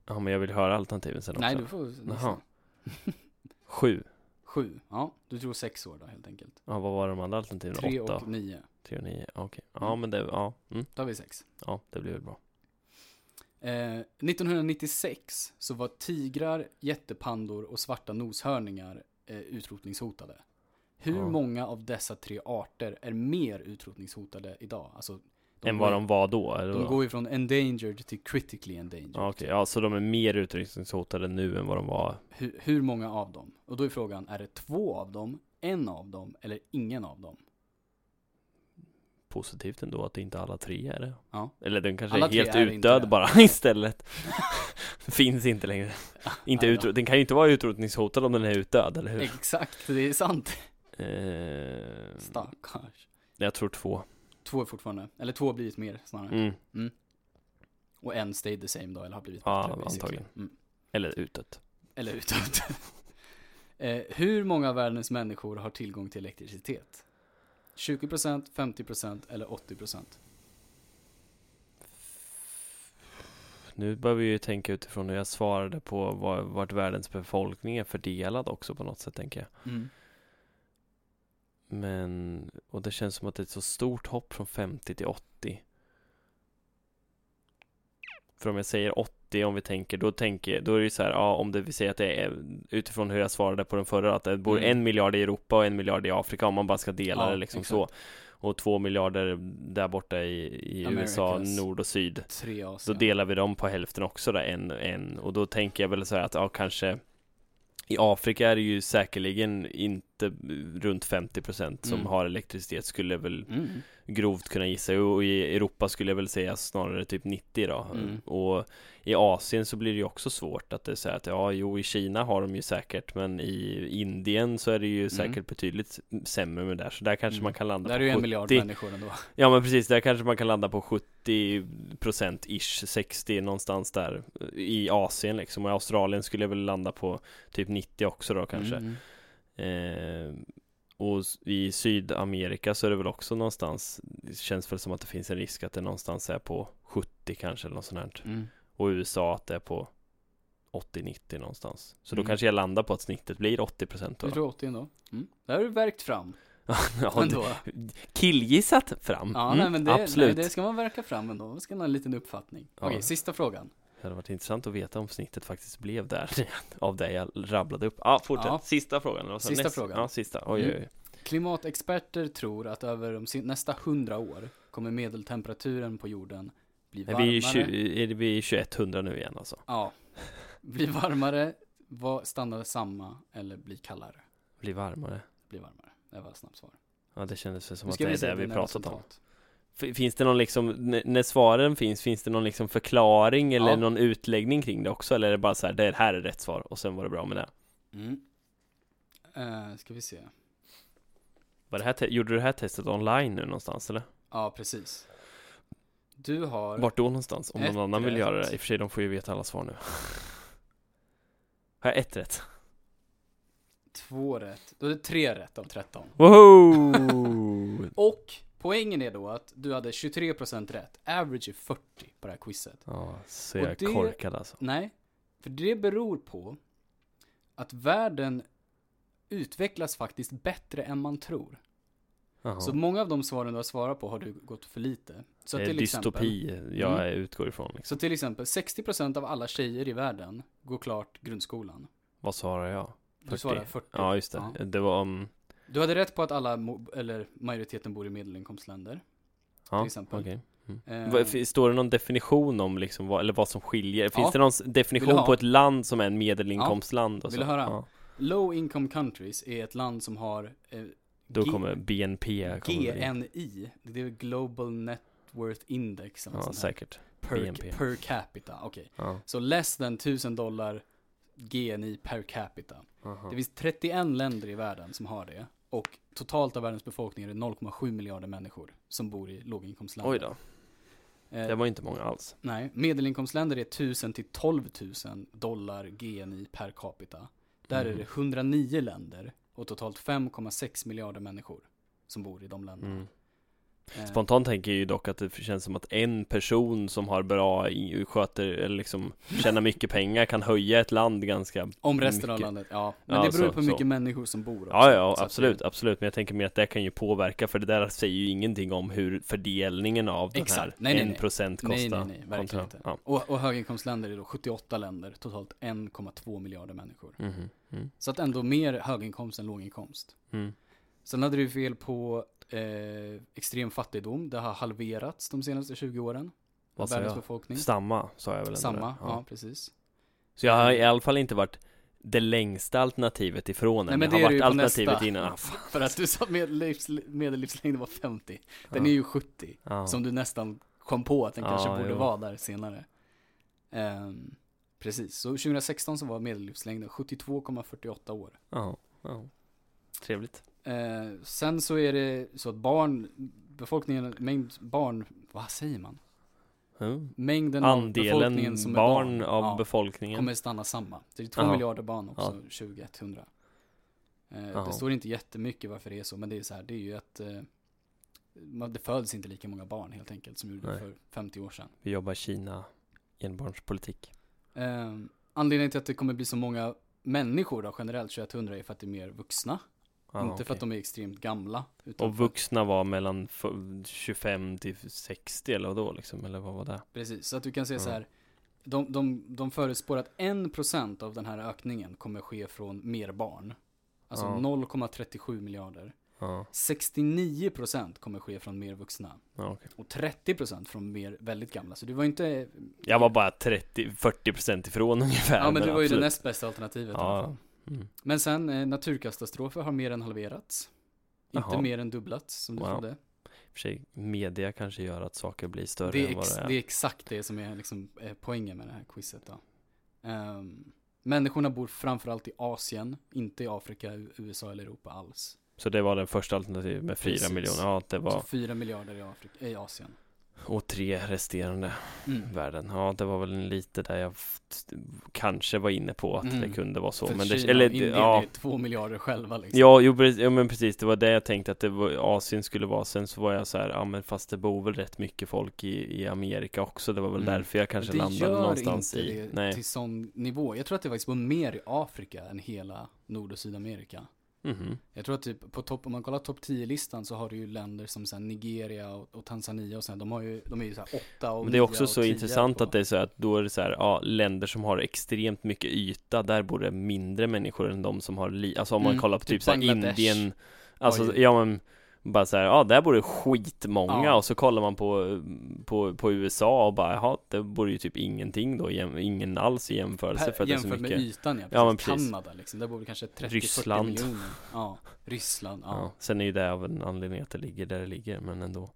[SPEAKER 1] Ja, men jag vill höra alternativen sen
[SPEAKER 2] Nej,
[SPEAKER 1] också.
[SPEAKER 2] du får
[SPEAKER 1] Jaha.
[SPEAKER 2] gissa.
[SPEAKER 1] Sju.
[SPEAKER 2] Sju. Ja, du tror sex år då helt enkelt.
[SPEAKER 1] Ja, vad var de andra alternativen?
[SPEAKER 2] Tre
[SPEAKER 1] Åtta?
[SPEAKER 2] och nio.
[SPEAKER 1] Tre och nio. Ja, Okej. Ja,
[SPEAKER 2] Mm.
[SPEAKER 1] men det, ja. Mm.
[SPEAKER 2] Då har vi sex.
[SPEAKER 1] Ja, det blir väl bra.
[SPEAKER 2] Eh, 1996 så var tigrar, jättepandor och svarta noshörningar eh, utrotningshotade. Hur
[SPEAKER 1] Ja.
[SPEAKER 2] många av dessa tre arter är mer utrotningshotade idag? Alltså,
[SPEAKER 1] Än
[SPEAKER 2] går,
[SPEAKER 1] vad de var då? Eller
[SPEAKER 2] de
[SPEAKER 1] då?
[SPEAKER 2] går ju från endangered till critically endangered.
[SPEAKER 1] Ja, okej. Ja, så de är mer utrotningshotade nu än vad de var?
[SPEAKER 2] Hur, hur många av dem? Och då är frågan, är det två av dem, en av dem eller ingen av dem?
[SPEAKER 1] Positivt ändå att det inte alla tre är det.
[SPEAKER 2] Ja.
[SPEAKER 1] Eller den kanske
[SPEAKER 2] Alla
[SPEAKER 1] är
[SPEAKER 2] tre
[SPEAKER 1] helt
[SPEAKER 2] är inte det.
[SPEAKER 1] utdöd bara [LAUGHS] istället. Finns inte
[SPEAKER 2] [LAUGHS]
[SPEAKER 1] längre. Inte
[SPEAKER 2] Nej
[SPEAKER 1] utro- den kan ju inte vara utrotningshotad om den är utdöd, eller hur?
[SPEAKER 2] Exakt, det är sant.
[SPEAKER 1] Eh,
[SPEAKER 2] Stackars.
[SPEAKER 1] jag tror två.
[SPEAKER 2] Två är fortfarande, eller två har blivit mer snarare.
[SPEAKER 1] Mm.
[SPEAKER 2] Och en stayed the same då, eller har blivit
[SPEAKER 1] Ja,
[SPEAKER 2] bättre. basically.
[SPEAKER 1] antagligen.
[SPEAKER 2] Mm.
[SPEAKER 1] Eller utdött.
[SPEAKER 2] Eller utdömt. [LAUGHS] eh, hur många av världens människor har tillgång till elektricitet? 20%, 50% eller 80%?
[SPEAKER 1] Nu bör vi ju tänka utifrån hur jag svarade på var, vart världens befolkning är fördelad också på något sätt, tänker jag.
[SPEAKER 2] Mm.
[SPEAKER 1] Men, och det känns som att det är ett så stort hopp från 50 till 80. För om jag säger 80, om vi tänker, då tänker, då är det ju så här, ja, om det, vi säger att det är utifrån hur jag svarade på den förra, att det bor
[SPEAKER 2] Mm.
[SPEAKER 1] en miljard i Europa och en miljard i Afrika, om man bara ska dela
[SPEAKER 2] Ja,
[SPEAKER 1] det liksom
[SPEAKER 2] exakt.
[SPEAKER 1] så. Och två miljarder där borta i, i USA,
[SPEAKER 2] Americas.
[SPEAKER 1] nord och syd.
[SPEAKER 2] Tre
[SPEAKER 1] Då
[SPEAKER 2] Asien.
[SPEAKER 1] delar vi dem på hälften också där, en och en. Och då tänker jag väl så här att, ja kanske I Afrika är det ju säkerligen inte runt 50% som
[SPEAKER 2] Mm.
[SPEAKER 1] har elektricitet skulle jag väl
[SPEAKER 2] Mm.
[SPEAKER 1] grovt kunna gissa. Och i Europa skulle jag väl säga snarare typ 90 då.
[SPEAKER 2] Mm.
[SPEAKER 1] Och i Asien så blir det ju också svårt att det är så här att ja, jo i Kina har de ju säkert men i Indien så är det ju säkert betydligt sämre med det där. Så där kanske
[SPEAKER 2] Mm.
[SPEAKER 1] man kan landa
[SPEAKER 2] Där är
[SPEAKER 1] på
[SPEAKER 2] ju en
[SPEAKER 1] 70
[SPEAKER 2] miljard människor ändå.
[SPEAKER 1] Ja men precis, där kanske man kan landa på 70% ish, 60 någonstans där i Asien liksom. Och i Australien skulle jag väl landa på typ 90 också då kanske.
[SPEAKER 2] Mm.
[SPEAKER 1] Eh, och s- i Sydamerika så är det väl också någonstans, det känns väl som att det finns en risk att det någonstans är på 70 kanske eller något sånt här.
[SPEAKER 2] Mm.
[SPEAKER 1] Och i USA att det är på 80-90 någonstans. Så
[SPEAKER 2] Mm.
[SPEAKER 1] då kanske jag landar på att snittet blir 80%
[SPEAKER 2] Du
[SPEAKER 1] då.
[SPEAKER 2] tror 80 ändå? Mm. Där har du verkt fram
[SPEAKER 1] [LAUGHS] ja, det-
[SPEAKER 2] ändå.
[SPEAKER 1] killgissat fram.
[SPEAKER 2] Ja,
[SPEAKER 1] Mm,
[SPEAKER 2] nej, men det,
[SPEAKER 1] absolut.
[SPEAKER 2] Nej, det ska man verka fram ändå. Man ska ha en liten uppfattning.
[SPEAKER 1] Ja.
[SPEAKER 2] Okej, sista frågan.
[SPEAKER 1] Det hade varit intressant att veta om snittet faktiskt blev där [LAUGHS] av det jag rabblade upp. Ja, fortsätt.
[SPEAKER 2] Ja.
[SPEAKER 1] Sista frågan. eller vad sa du?
[SPEAKER 2] Sista frågan.
[SPEAKER 1] Ja, sista. Oj,
[SPEAKER 2] Mm.
[SPEAKER 1] oj, oj.
[SPEAKER 2] Klimatexperter tror att över de sin- nästa 100 år kommer medeltemperaturen på jorden bli
[SPEAKER 1] Nej,
[SPEAKER 2] varmare.
[SPEAKER 1] vi är ju 20, är det- vi är ju 2100 nu igen alltså.
[SPEAKER 2] Ja. Bli varmare, va, stanna samma eller bli kallare.
[SPEAKER 1] Blir varmare.
[SPEAKER 2] Bli varmare. Det var ett snabbt svar.
[SPEAKER 1] Ja, det kändes väl som
[SPEAKER 2] Nu
[SPEAKER 1] att
[SPEAKER 2] ska
[SPEAKER 1] det är
[SPEAKER 2] se
[SPEAKER 1] det vi
[SPEAKER 2] dina
[SPEAKER 1] pratat om.
[SPEAKER 2] resultat.
[SPEAKER 1] F- Finns det någon liksom, n- när svaren finns, finns det någon liksom förklaring eller
[SPEAKER 2] Ja.
[SPEAKER 1] någon utläggning kring det också? Eller är det bara så här, det här är rätt svar och sen var det bra med det?
[SPEAKER 2] Mm. Eh, ska vi se.
[SPEAKER 1] Var det här te- gjorde du det här testet online nu någonstans eller?
[SPEAKER 2] Ja, precis. Du har...
[SPEAKER 1] Vart då någonstans? Om
[SPEAKER 2] Ett
[SPEAKER 1] någon annan vill
[SPEAKER 2] rätt.
[SPEAKER 1] göra det? I och för sig, de får ju veta alla svar nu. [LAUGHS] Har jag ett rätt?
[SPEAKER 2] Två rätt. Då är det tre rätt av 13.
[SPEAKER 1] Woho!
[SPEAKER 2] Och poängen är då att du hade 23% rätt. Average är 40 på det här quizet.
[SPEAKER 1] [LAUGHS] Ja, så
[SPEAKER 2] Och
[SPEAKER 1] jag
[SPEAKER 2] det-
[SPEAKER 1] korkad alltså.
[SPEAKER 2] Nej, för det beror på att världen utvecklas faktiskt bättre än man tror.
[SPEAKER 1] Jaha.
[SPEAKER 2] Så många av de svaren du har svarat på har du gått för lite. Så
[SPEAKER 1] det är
[SPEAKER 2] till Exempel,
[SPEAKER 1] dystopi jag utgår ifrån. Liksom.
[SPEAKER 2] så till exempel 60% av alla tjejer i världen går klart grundskolan.
[SPEAKER 1] Vad svarar jag?
[SPEAKER 2] Du
[SPEAKER 1] 40.
[SPEAKER 2] svarar 40.
[SPEAKER 1] Ja, just det. Det var... Um...
[SPEAKER 2] Du hade rätt på att alla, mo- eller majoriteten bor i medelinkomstländer.
[SPEAKER 1] Ja,
[SPEAKER 2] Till exempel.
[SPEAKER 1] okej.
[SPEAKER 2] Eh,
[SPEAKER 1] Vad- f- Står det någon definition om liksom vad, eller vad som skiljer? Finns
[SPEAKER 2] Ja.
[SPEAKER 1] det någon s-
[SPEAKER 2] Vill du
[SPEAKER 1] definition
[SPEAKER 2] ha?
[SPEAKER 1] på ett land som är en medelinkomstland? och
[SPEAKER 2] Vill
[SPEAKER 1] så?
[SPEAKER 2] du höra?
[SPEAKER 1] Ja.
[SPEAKER 2] Low income countries är ett land som har eh,
[SPEAKER 1] Då
[SPEAKER 2] G-
[SPEAKER 1] kommer BNP kommer väl in.
[SPEAKER 2] GNI, det är Global Net Worth Index eller något
[SPEAKER 1] Ja,
[SPEAKER 2] sånt här.
[SPEAKER 1] säkert. BNP.
[SPEAKER 2] Per, per capita, okej.
[SPEAKER 1] Ja.
[SPEAKER 2] Så less than 1000 dollar GNI per capita.
[SPEAKER 1] aha.
[SPEAKER 2] Det finns 31 länder i världen som har det. Och totalt av världens befolkning är det 0,7 miljarder människor som bor i låginkomstländer.
[SPEAKER 1] Oj då,
[SPEAKER 2] Eh,
[SPEAKER 1] det var inte många alls.
[SPEAKER 2] Nej, medelinkomstländer är 1000 till 12 000 dollar GNI per capita. Där är
[SPEAKER 1] Mhm.
[SPEAKER 2] det 109 länder och totalt 5,6 miljarder människor som bor i de länderna.
[SPEAKER 1] Mm.
[SPEAKER 2] Eh,
[SPEAKER 1] Spontant tänker jag ju dock att det känns som att en person som har bra, i- sköter, eller liksom tjänar mycket pengar kan höja ett land ganska
[SPEAKER 2] Om resten av
[SPEAKER 1] Mycket.
[SPEAKER 2] landet, ja. Men
[SPEAKER 1] Ja,
[SPEAKER 2] det beror
[SPEAKER 1] så-
[SPEAKER 2] på hur mycket
[SPEAKER 1] så.
[SPEAKER 2] människor som bor också.
[SPEAKER 1] Ja, ja,
[SPEAKER 2] Så att
[SPEAKER 1] absolut,
[SPEAKER 2] det-
[SPEAKER 1] absolut. Men jag tänker mer att det kan ju påverka, för det där säger ju ingenting om hur fördelningen av den
[SPEAKER 2] Exakt.
[SPEAKER 1] här
[SPEAKER 2] Nej, nej, nej.
[SPEAKER 1] 1% kostar.
[SPEAKER 2] Nej, nej, nej, verkligen
[SPEAKER 1] kontra-
[SPEAKER 2] inte.
[SPEAKER 1] Ja.
[SPEAKER 2] Och, och höginkomstländer är då 78 länder, totalt 1,2 miljarder människor.
[SPEAKER 1] Mhm, mm,
[SPEAKER 2] Så att ändå mer höginkomst än låginkomst.
[SPEAKER 1] mm.
[SPEAKER 2] Sen hade du fel på eh, extrem fattigdom, det har halverats de senaste 20 åren.
[SPEAKER 1] Vad sa
[SPEAKER 2] Världens
[SPEAKER 1] jag?
[SPEAKER 2] befolkning.
[SPEAKER 1] Samma, sa jag väl ändå
[SPEAKER 2] Samma,
[SPEAKER 1] där.
[SPEAKER 2] ja. precis.
[SPEAKER 1] Så jag har i alla fall inte varit det längsta alternativet ifrån
[SPEAKER 2] Nej,
[SPEAKER 1] än.
[SPEAKER 2] men
[SPEAKER 1] Jag har
[SPEAKER 2] det är du ju
[SPEAKER 1] varit
[SPEAKER 2] på
[SPEAKER 1] alternativet
[SPEAKER 2] nästa.
[SPEAKER 1] innan. Ah, fan.
[SPEAKER 2] För att du sa medellivs, medellivslängden var 50. Den är ju 70.
[SPEAKER 1] Ja.
[SPEAKER 2] Som du nästan kom på att den
[SPEAKER 1] Ja,
[SPEAKER 2] kanske borde
[SPEAKER 1] jo.
[SPEAKER 2] vara där senare. Ehm, precis, så 2016 så var medellivslängden 72,48 år.
[SPEAKER 1] Ja, ja. Trevligt.
[SPEAKER 2] Eh, sen så är det så att barn, befolkningen, mängd barn, vad säger man?
[SPEAKER 1] Mm.
[SPEAKER 2] Mängden av befolkningen
[SPEAKER 1] Andelen
[SPEAKER 2] som
[SPEAKER 1] barn
[SPEAKER 2] är barn
[SPEAKER 1] av
[SPEAKER 2] ja,
[SPEAKER 1] befolkningen.
[SPEAKER 2] kommer stanna samma. Det är två
[SPEAKER 1] Jaha.
[SPEAKER 2] miljarder barn också 2100. Eh,
[SPEAKER 1] Jaha.
[SPEAKER 2] det står inte jättemycket varför det är så, men det är så här, det är ju att eh, man- det föds inte lika många barn helt enkelt som gjorde
[SPEAKER 1] Nej.
[SPEAKER 2] för 50 år sedan.
[SPEAKER 1] Vi jobbar Kina enbarnspolitik.
[SPEAKER 2] Eh, anledningen till att det kommer bli så många människor då generellt 2100 är för att det är mer vuxna.
[SPEAKER 1] Ja,
[SPEAKER 2] inte för
[SPEAKER 1] okej.
[SPEAKER 2] att de är extremt gamla. Utan
[SPEAKER 1] Och
[SPEAKER 2] för-
[SPEAKER 1] vuxna var mellan f- 25 till 60 eller vad då liksom, eller vad var det?
[SPEAKER 2] Precis, så att du kan säga
[SPEAKER 1] Ja.
[SPEAKER 2] så här. De, de, de förutspår att 1% av den här ökningen kommer ske från mer barn. Alltså
[SPEAKER 1] Ja.
[SPEAKER 2] 0,37 miljarder.
[SPEAKER 1] Ja,
[SPEAKER 2] 69% kommer ske från mer vuxna.
[SPEAKER 1] ja okej.
[SPEAKER 2] Och 30% från mer väldigt gamla. Så du var inte...
[SPEAKER 1] Jag var bara 30-40% ifrån [LAUGHS] ungefär.
[SPEAKER 2] Ja men du var ju det
[SPEAKER 1] absolut.
[SPEAKER 2] näst bästa alternativet. i alla fall.
[SPEAKER 1] Ja, mm.
[SPEAKER 2] Men sen eh, naturkatastrofer har mer än halverats. Inte
[SPEAKER 1] Jaha.
[SPEAKER 2] mer än dubblats som du
[SPEAKER 1] Wow.
[SPEAKER 2] trodde.
[SPEAKER 1] I och för sig, media kanske gör att saker blir större
[SPEAKER 2] Det är,
[SPEAKER 1] än vad
[SPEAKER 2] ex-
[SPEAKER 1] det är.
[SPEAKER 2] det är exakt det som är liksom eh, poängen med det här quizet då. Ehm, människorna bor framförallt i Asien, inte i Afrika, U- USA eller Europa alls.
[SPEAKER 1] Så det var den första alternativet med 4
[SPEAKER 2] Precis.
[SPEAKER 1] miljoner. Ja, det
[SPEAKER 2] Så
[SPEAKER 1] var...
[SPEAKER 2] 4 miljarder i, Afrika, i Asien.
[SPEAKER 1] Och tre resterande
[SPEAKER 2] Mm.
[SPEAKER 1] värden. Ja, det var väl lite där jag f- t- kanske var inne på att
[SPEAKER 2] Mm.
[SPEAKER 1] det kunde vara så.
[SPEAKER 2] För
[SPEAKER 1] men
[SPEAKER 2] Kina
[SPEAKER 1] det,
[SPEAKER 2] och
[SPEAKER 1] eller,
[SPEAKER 2] Indien
[SPEAKER 1] ja,
[SPEAKER 2] är två miljarder själva liksom.
[SPEAKER 1] ja, jo, precis, ja, men precis. Det var det jag tänkte att det var, Asien skulle vara. Sen så var jag så här, ja men fast det bor väl rätt mycket folk i, i Amerika också. Det var väl
[SPEAKER 2] Mm.
[SPEAKER 1] därför jag kanske
[SPEAKER 2] det
[SPEAKER 1] landade
[SPEAKER 2] gör
[SPEAKER 1] någonstans
[SPEAKER 2] inte
[SPEAKER 1] i.
[SPEAKER 2] det
[SPEAKER 1] Nej.
[SPEAKER 2] till sån nivå. Jag tror att det faktiskt var mer i Afrika än hela Nord och Sydamerika.
[SPEAKER 1] Mhm.
[SPEAKER 2] Jag tror att typ på topp, om man kollar topp 10-listan så har du ju länder som så här Nigeria och, och Tanzania och sådär. De har ju, de är ju så här 8 och
[SPEAKER 1] Men det är
[SPEAKER 2] 9
[SPEAKER 1] också
[SPEAKER 2] och
[SPEAKER 1] så
[SPEAKER 2] 10
[SPEAKER 1] intressant
[SPEAKER 2] på-
[SPEAKER 1] att det är så här att då är det så här, ja, länder som har extremt mycket yta, där bor det mindre människor än de som har li- alltså om man
[SPEAKER 2] Mm,
[SPEAKER 1] kollar på
[SPEAKER 2] typ
[SPEAKER 1] typ, så här
[SPEAKER 2] Bangladesh
[SPEAKER 1] Indien, alltså
[SPEAKER 2] ju-
[SPEAKER 1] ja men bara så här, ja där bor det skitmånga
[SPEAKER 2] Ja.
[SPEAKER 1] och så kollar man på, på, på USA och bara, jaha, det bor ju typ ingenting då, jäm- ingen alls i jämförelse för
[SPEAKER 2] Per,
[SPEAKER 1] att det är så
[SPEAKER 2] jämfört
[SPEAKER 1] mycket.
[SPEAKER 2] med ytan ja, precis.
[SPEAKER 1] Ja, men precis.
[SPEAKER 2] Kanada liksom, där bor det kanske 30-40
[SPEAKER 1] Ryssland.
[SPEAKER 2] miljoner. Ja, Ryssland, ja,
[SPEAKER 1] ja. Sen är ju det av en anledning att det ligger där det ligger, men ändå.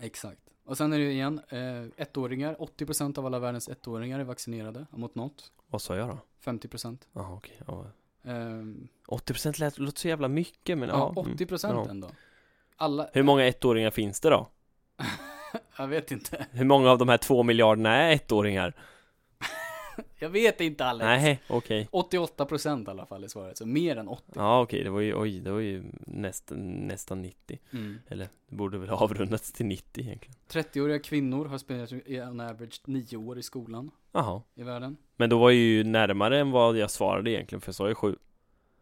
[SPEAKER 2] exakt. Och sen är det ju igen, eh, ettåringar, 80% av alla världens ettåringar är vaccinerade mot något,
[SPEAKER 1] Vad sa jag då?
[SPEAKER 2] 50%.
[SPEAKER 1] Jaha, okej. Ja.
[SPEAKER 2] Ehm,
[SPEAKER 1] 80% lät, låter så jävla mycket, men ja.
[SPEAKER 2] ja,
[SPEAKER 1] mm.
[SPEAKER 2] 80 procent
[SPEAKER 1] ja.
[SPEAKER 2] ändå. Alla, [LAUGHS]
[SPEAKER 1] Hur många ettåringar finns det då?
[SPEAKER 2] jag vet inte.
[SPEAKER 1] Hur många av de här två miljarderna är ettåringar?
[SPEAKER 2] Jag vet inte Alex.
[SPEAKER 1] Nej, okej.
[SPEAKER 2] 88 procent i alla fall är svaret, så mer än 80.
[SPEAKER 1] Ja, okej, det var ju, oj, det var ju nästan, nästan 90.
[SPEAKER 2] Mm.
[SPEAKER 1] Eller, det borde väl ha avrundats till 90 egentligen.
[SPEAKER 2] 30-åriga kvinnor har spenderat i- on average 9 år i skolan
[SPEAKER 1] Jaha.
[SPEAKER 2] i världen.
[SPEAKER 1] Men då var jag ju närmare än vad jag svarade egentligen, för jag sa ju sju.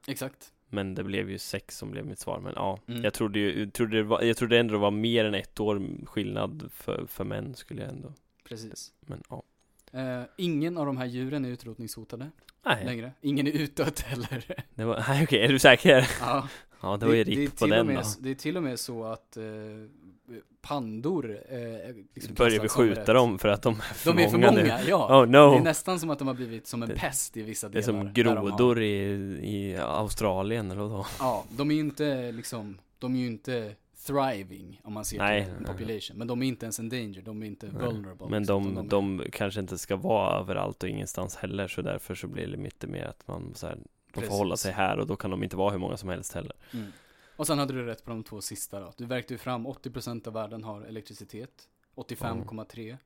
[SPEAKER 2] Exakt.
[SPEAKER 1] Men det blev ju sex som blev mitt svar, men ja.
[SPEAKER 2] Mm.
[SPEAKER 1] Jag trodde ju, trodde det var, jag trodde ändå det var mer än ett år skillnad för, för män skulle jag ändå,
[SPEAKER 2] Precis.
[SPEAKER 1] men ja.
[SPEAKER 2] Eh, ingen av de här djuren är utrotningshotade
[SPEAKER 1] Nej,
[SPEAKER 2] längre. Ingen är
[SPEAKER 1] [LAUGHS]
[SPEAKER 2] utdött heller.
[SPEAKER 1] det var, nej okej, är du säker?
[SPEAKER 2] ja,
[SPEAKER 1] Ja, det var ju
[SPEAKER 2] är
[SPEAKER 1] ripp på
[SPEAKER 2] till och
[SPEAKER 1] den
[SPEAKER 2] med,
[SPEAKER 1] då.
[SPEAKER 2] liksom s- Det är till och med så att eh, pandor eh, liksom
[SPEAKER 1] Börjar vi
[SPEAKER 2] klassas som
[SPEAKER 1] skjuta
[SPEAKER 2] rätt-
[SPEAKER 1] dem för att de är för,
[SPEAKER 2] De är för
[SPEAKER 1] många, nu?
[SPEAKER 2] många, ja.
[SPEAKER 1] Oh
[SPEAKER 2] Det är
[SPEAKER 1] no!
[SPEAKER 2] nästan som att de har blivit som en
[SPEAKER 1] Det-
[SPEAKER 2] pest i vissa delar.
[SPEAKER 1] Det är som
[SPEAKER 2] där de har-
[SPEAKER 1] grodor i, i Australien eller vadå?
[SPEAKER 2] Ja, de är ju inte liksom, de är ju inte thriving om man ser
[SPEAKER 1] Nej,
[SPEAKER 2] till en
[SPEAKER 1] nej,
[SPEAKER 2] population. Men de är inte ens en danger, de är inte
[SPEAKER 1] Nej.
[SPEAKER 2] vulnerable.
[SPEAKER 1] Men
[SPEAKER 2] liksom, utan
[SPEAKER 1] de, de kanske inte ska vara överallt och ingenstans heller så därför så blir det lite mer att man så här, de får
[SPEAKER 2] Precis.
[SPEAKER 1] hålla sig här och då kan de inte vara hur många som helst heller.
[SPEAKER 2] Mm. Och sen hade du rätt på de två sista då. Du verkade ju fram 80% av världen har elektricitet, 85,3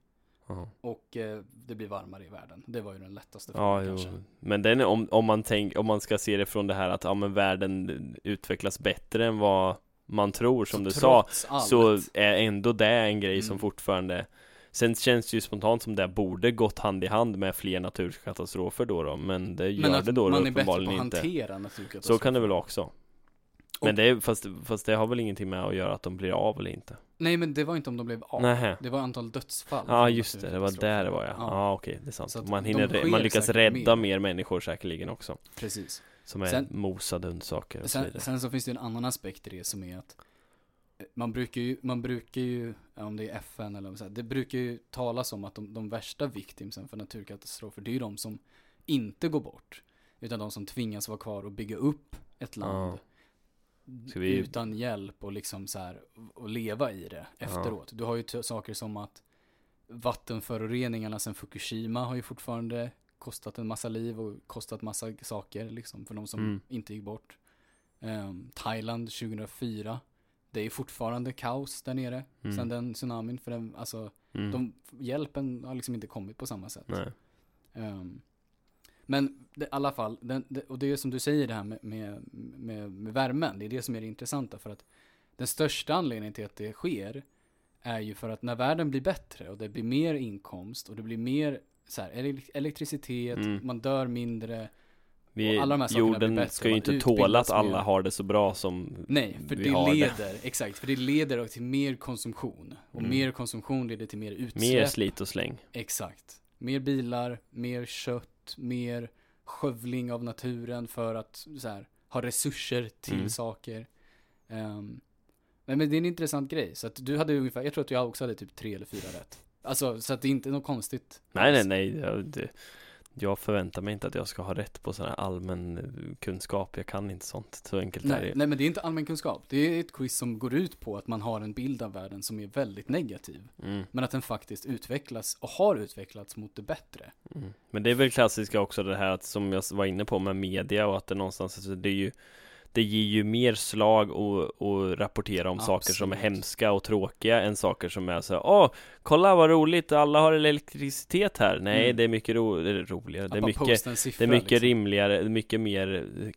[SPEAKER 1] Ja,
[SPEAKER 2] och eh, det blir varmare i världen. Det var ju den lättaste
[SPEAKER 1] ja
[SPEAKER 2] frågan
[SPEAKER 1] jo.
[SPEAKER 2] kanske.
[SPEAKER 1] Men den är, om, om, man tänk, om man ska se det från det här att ja, men världen utvecklas bättre än vad man tror som
[SPEAKER 2] Så
[SPEAKER 1] du sa
[SPEAKER 2] trots allt,
[SPEAKER 1] så är ändå det en grej som
[SPEAKER 2] Mm.
[SPEAKER 1] fortfarande Sen känns det ju spontant som det borde gått hand i hand med fler naturkatastrofer då, då men det gör
[SPEAKER 2] men
[SPEAKER 1] det
[SPEAKER 2] att
[SPEAKER 1] då
[SPEAKER 2] man är bättre på
[SPEAKER 1] uppenbarligen
[SPEAKER 2] att
[SPEAKER 1] inte.
[SPEAKER 2] hantera naturkatastrofer.
[SPEAKER 1] Så kan det väl också. Men
[SPEAKER 2] Och-
[SPEAKER 1] det är, fast, fast det har väl ingenting med att göra att de blir av eller inte?
[SPEAKER 2] Nej men det var inte om de blev av.
[SPEAKER 1] Nähä.
[SPEAKER 2] Det var antal dödsfall.
[SPEAKER 1] Typ. Ja
[SPEAKER 2] från
[SPEAKER 1] just det, det var
[SPEAKER 2] naturkatastrofer.
[SPEAKER 1] där det var ja. Ja
[SPEAKER 2] Ja.
[SPEAKER 1] okej, det är sant.
[SPEAKER 2] Så att
[SPEAKER 1] man,
[SPEAKER 2] de
[SPEAKER 1] hinner,
[SPEAKER 2] sker
[SPEAKER 1] man lyckas
[SPEAKER 2] säkert
[SPEAKER 1] rädda mer
[SPEAKER 2] mer.
[SPEAKER 1] människor säkerligen också.
[SPEAKER 2] Precis.
[SPEAKER 1] Som är
[SPEAKER 2] Sen-
[SPEAKER 1] mosade hundsaker och så
[SPEAKER 2] Sen,
[SPEAKER 1] vidare.
[SPEAKER 2] sen så finns det ju en annan aspekt i det som är att eh, man brukar ju, man brukar ju ja, om det är FN eller så här, det brukar ju talas om att de, de värsta victimsen för naturkatastrofer, det är ju de som inte går bort. Utan de som tvingas vara kvar och bygga upp ett land
[SPEAKER 1] Ska vi-
[SPEAKER 2] utan hjälp och liksom så här, och leva i det efteråt. Du har ju t- saker som att vattenföroreningarna sen Fukushima har ju fortfarande kostat en massa liv och kostat massa saker liksom för de som
[SPEAKER 1] Mm.
[SPEAKER 2] inte gick bort. Ehm, Thailand 2004. Det är fortfarande kaos där nere
[SPEAKER 1] Mm.
[SPEAKER 2] sen den tsunamin. För den, alltså,
[SPEAKER 1] Mm.
[SPEAKER 2] de, hjälpen har liksom inte kommit på samma sätt.
[SPEAKER 1] Nej.
[SPEAKER 2] Ehm, men det- i alla fall, den, det, och det är som du säger det här med, med, med, med värmen. Det är det som är det intressanta. För att den största anledningen till att det sker är ju för att när världen blir bättre och det blir mer inkomst och det blir mer så här, ele- elektricitet,
[SPEAKER 1] Mm.
[SPEAKER 2] man dör mindre.
[SPEAKER 1] Vi,
[SPEAKER 2] alla de här sakerna blir
[SPEAKER 1] jorden
[SPEAKER 2] bättre,
[SPEAKER 1] ska ju
[SPEAKER 2] man
[SPEAKER 1] inte
[SPEAKER 2] utbildas
[SPEAKER 1] tåla att
[SPEAKER 2] mer.
[SPEAKER 1] alla har det så bra som
[SPEAKER 2] Nej, för
[SPEAKER 1] vi
[SPEAKER 2] det
[SPEAKER 1] har
[SPEAKER 2] leder, exakt, för det leder till mer konsumtion. Och
[SPEAKER 1] Mm.
[SPEAKER 2] mer konsumtion leder till mer utsläpp.
[SPEAKER 1] Mer slit och släng.
[SPEAKER 2] Exakt. Mer bilar, mer kött, mer skövling av naturen för att så här, ha resurser till
[SPEAKER 1] Mm.
[SPEAKER 2] saker. Ehm, nej, men det är en intressant grej. Så att du hade ungefär, jag tror att jag också hade typ tre eller fyra rätt. Alltså, så att det är inte något konstigt.
[SPEAKER 1] Nej, nej, nej. Jag, det, jag förväntar mig inte att jag ska ha rätt på sån här allmän eh, kunskap. Jag kan inte sånt. Så enkelt är det
[SPEAKER 2] Nej,
[SPEAKER 1] ju.
[SPEAKER 2] nej, men det är inte allmän kunskap. Det är ett quiz som går ut på att man har en bild av världen som är väldigt negativ.
[SPEAKER 1] Mm,
[SPEAKER 2] Men att den faktiskt utvecklas och har utvecklats mot det bättre.
[SPEAKER 1] mm. Men det är väl klassiska också det här att, som jag var inne på med media och att det någonstans, alltså, det är ju det ger ju mer slag och, och rapportera om saker som är
[SPEAKER 2] Absolut.
[SPEAKER 1] hemska och tråkiga än saker som är så här, åh, kolla vad roligt, alla har elektricitet här. Nej,
[SPEAKER 2] Mm.
[SPEAKER 1] det är mycket ro- eller roligare,
[SPEAKER 2] Att
[SPEAKER 1] det är
[SPEAKER 2] bara
[SPEAKER 1] mycket
[SPEAKER 2] posta en siffra,
[SPEAKER 1] det är mycket
[SPEAKER 2] liksom.
[SPEAKER 1] rimligare, mycket mer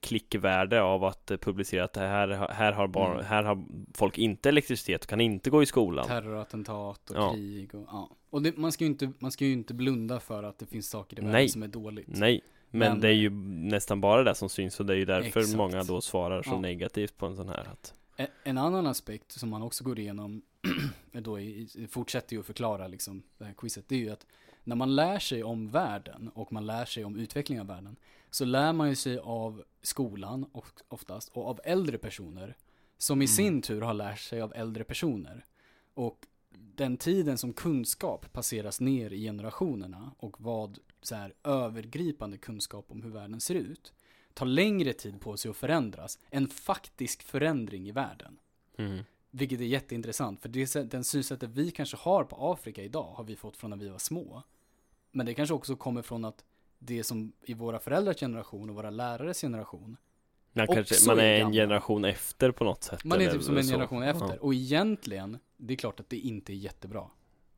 [SPEAKER 1] klickvärde av att eh, publicera att det här, här, har barn,
[SPEAKER 2] Mm.
[SPEAKER 1] här har folk inte elektricitet och kan inte gå i skolan.
[SPEAKER 2] Terrorattentat och
[SPEAKER 1] Ja.
[SPEAKER 2] krig och ja. Och det, man, ska ju inte, man ska ju inte blunda för att det finns saker i världen
[SPEAKER 1] Nej.
[SPEAKER 2] som är dåligt.
[SPEAKER 1] Nej, men,
[SPEAKER 2] Men-
[SPEAKER 1] det är ju nästan bara det som syns och det är ju därför
[SPEAKER 2] Exakt.
[SPEAKER 1] många då svarar så
[SPEAKER 2] Ja.
[SPEAKER 1] negativt på en sån här. Att,
[SPEAKER 2] E- En annan aspekt som man också går igenom, [CLEARS THROAT] då i, i- fortsätter ju att förklara liksom det här quizet, det är ju att när man lär sig om världen och man lär sig om utveckling av världen, så lär man ju sig av skolan och, oftast och av äldre personer, som i sin tur har lärt sig av äldre personer. Och den tiden som kunskap passeras ner i generationerna och vad så här, övergripande kunskap om hur världen ser ut, tar längre tid på sig att förändras än faktisk förändring i världen.
[SPEAKER 1] mm,
[SPEAKER 2] Vilket är jätteintressant, för det, sätt- den synsättet vi kanske har på Afrika idag har vi fått från när vi var små. Men det kanske också kommer från att det som i våra föräldrars generation och våra lärares generation,
[SPEAKER 1] man,
[SPEAKER 2] Och
[SPEAKER 1] kanske,
[SPEAKER 2] så
[SPEAKER 1] man
[SPEAKER 2] är
[SPEAKER 1] är en
[SPEAKER 2] gamla.
[SPEAKER 1] generation efter på något sätt.
[SPEAKER 2] man är
[SPEAKER 1] eller
[SPEAKER 2] typ som en
[SPEAKER 1] så.
[SPEAKER 2] generation efter.
[SPEAKER 1] Ja.
[SPEAKER 2] Och egentligen, det är klart att det inte är jättebra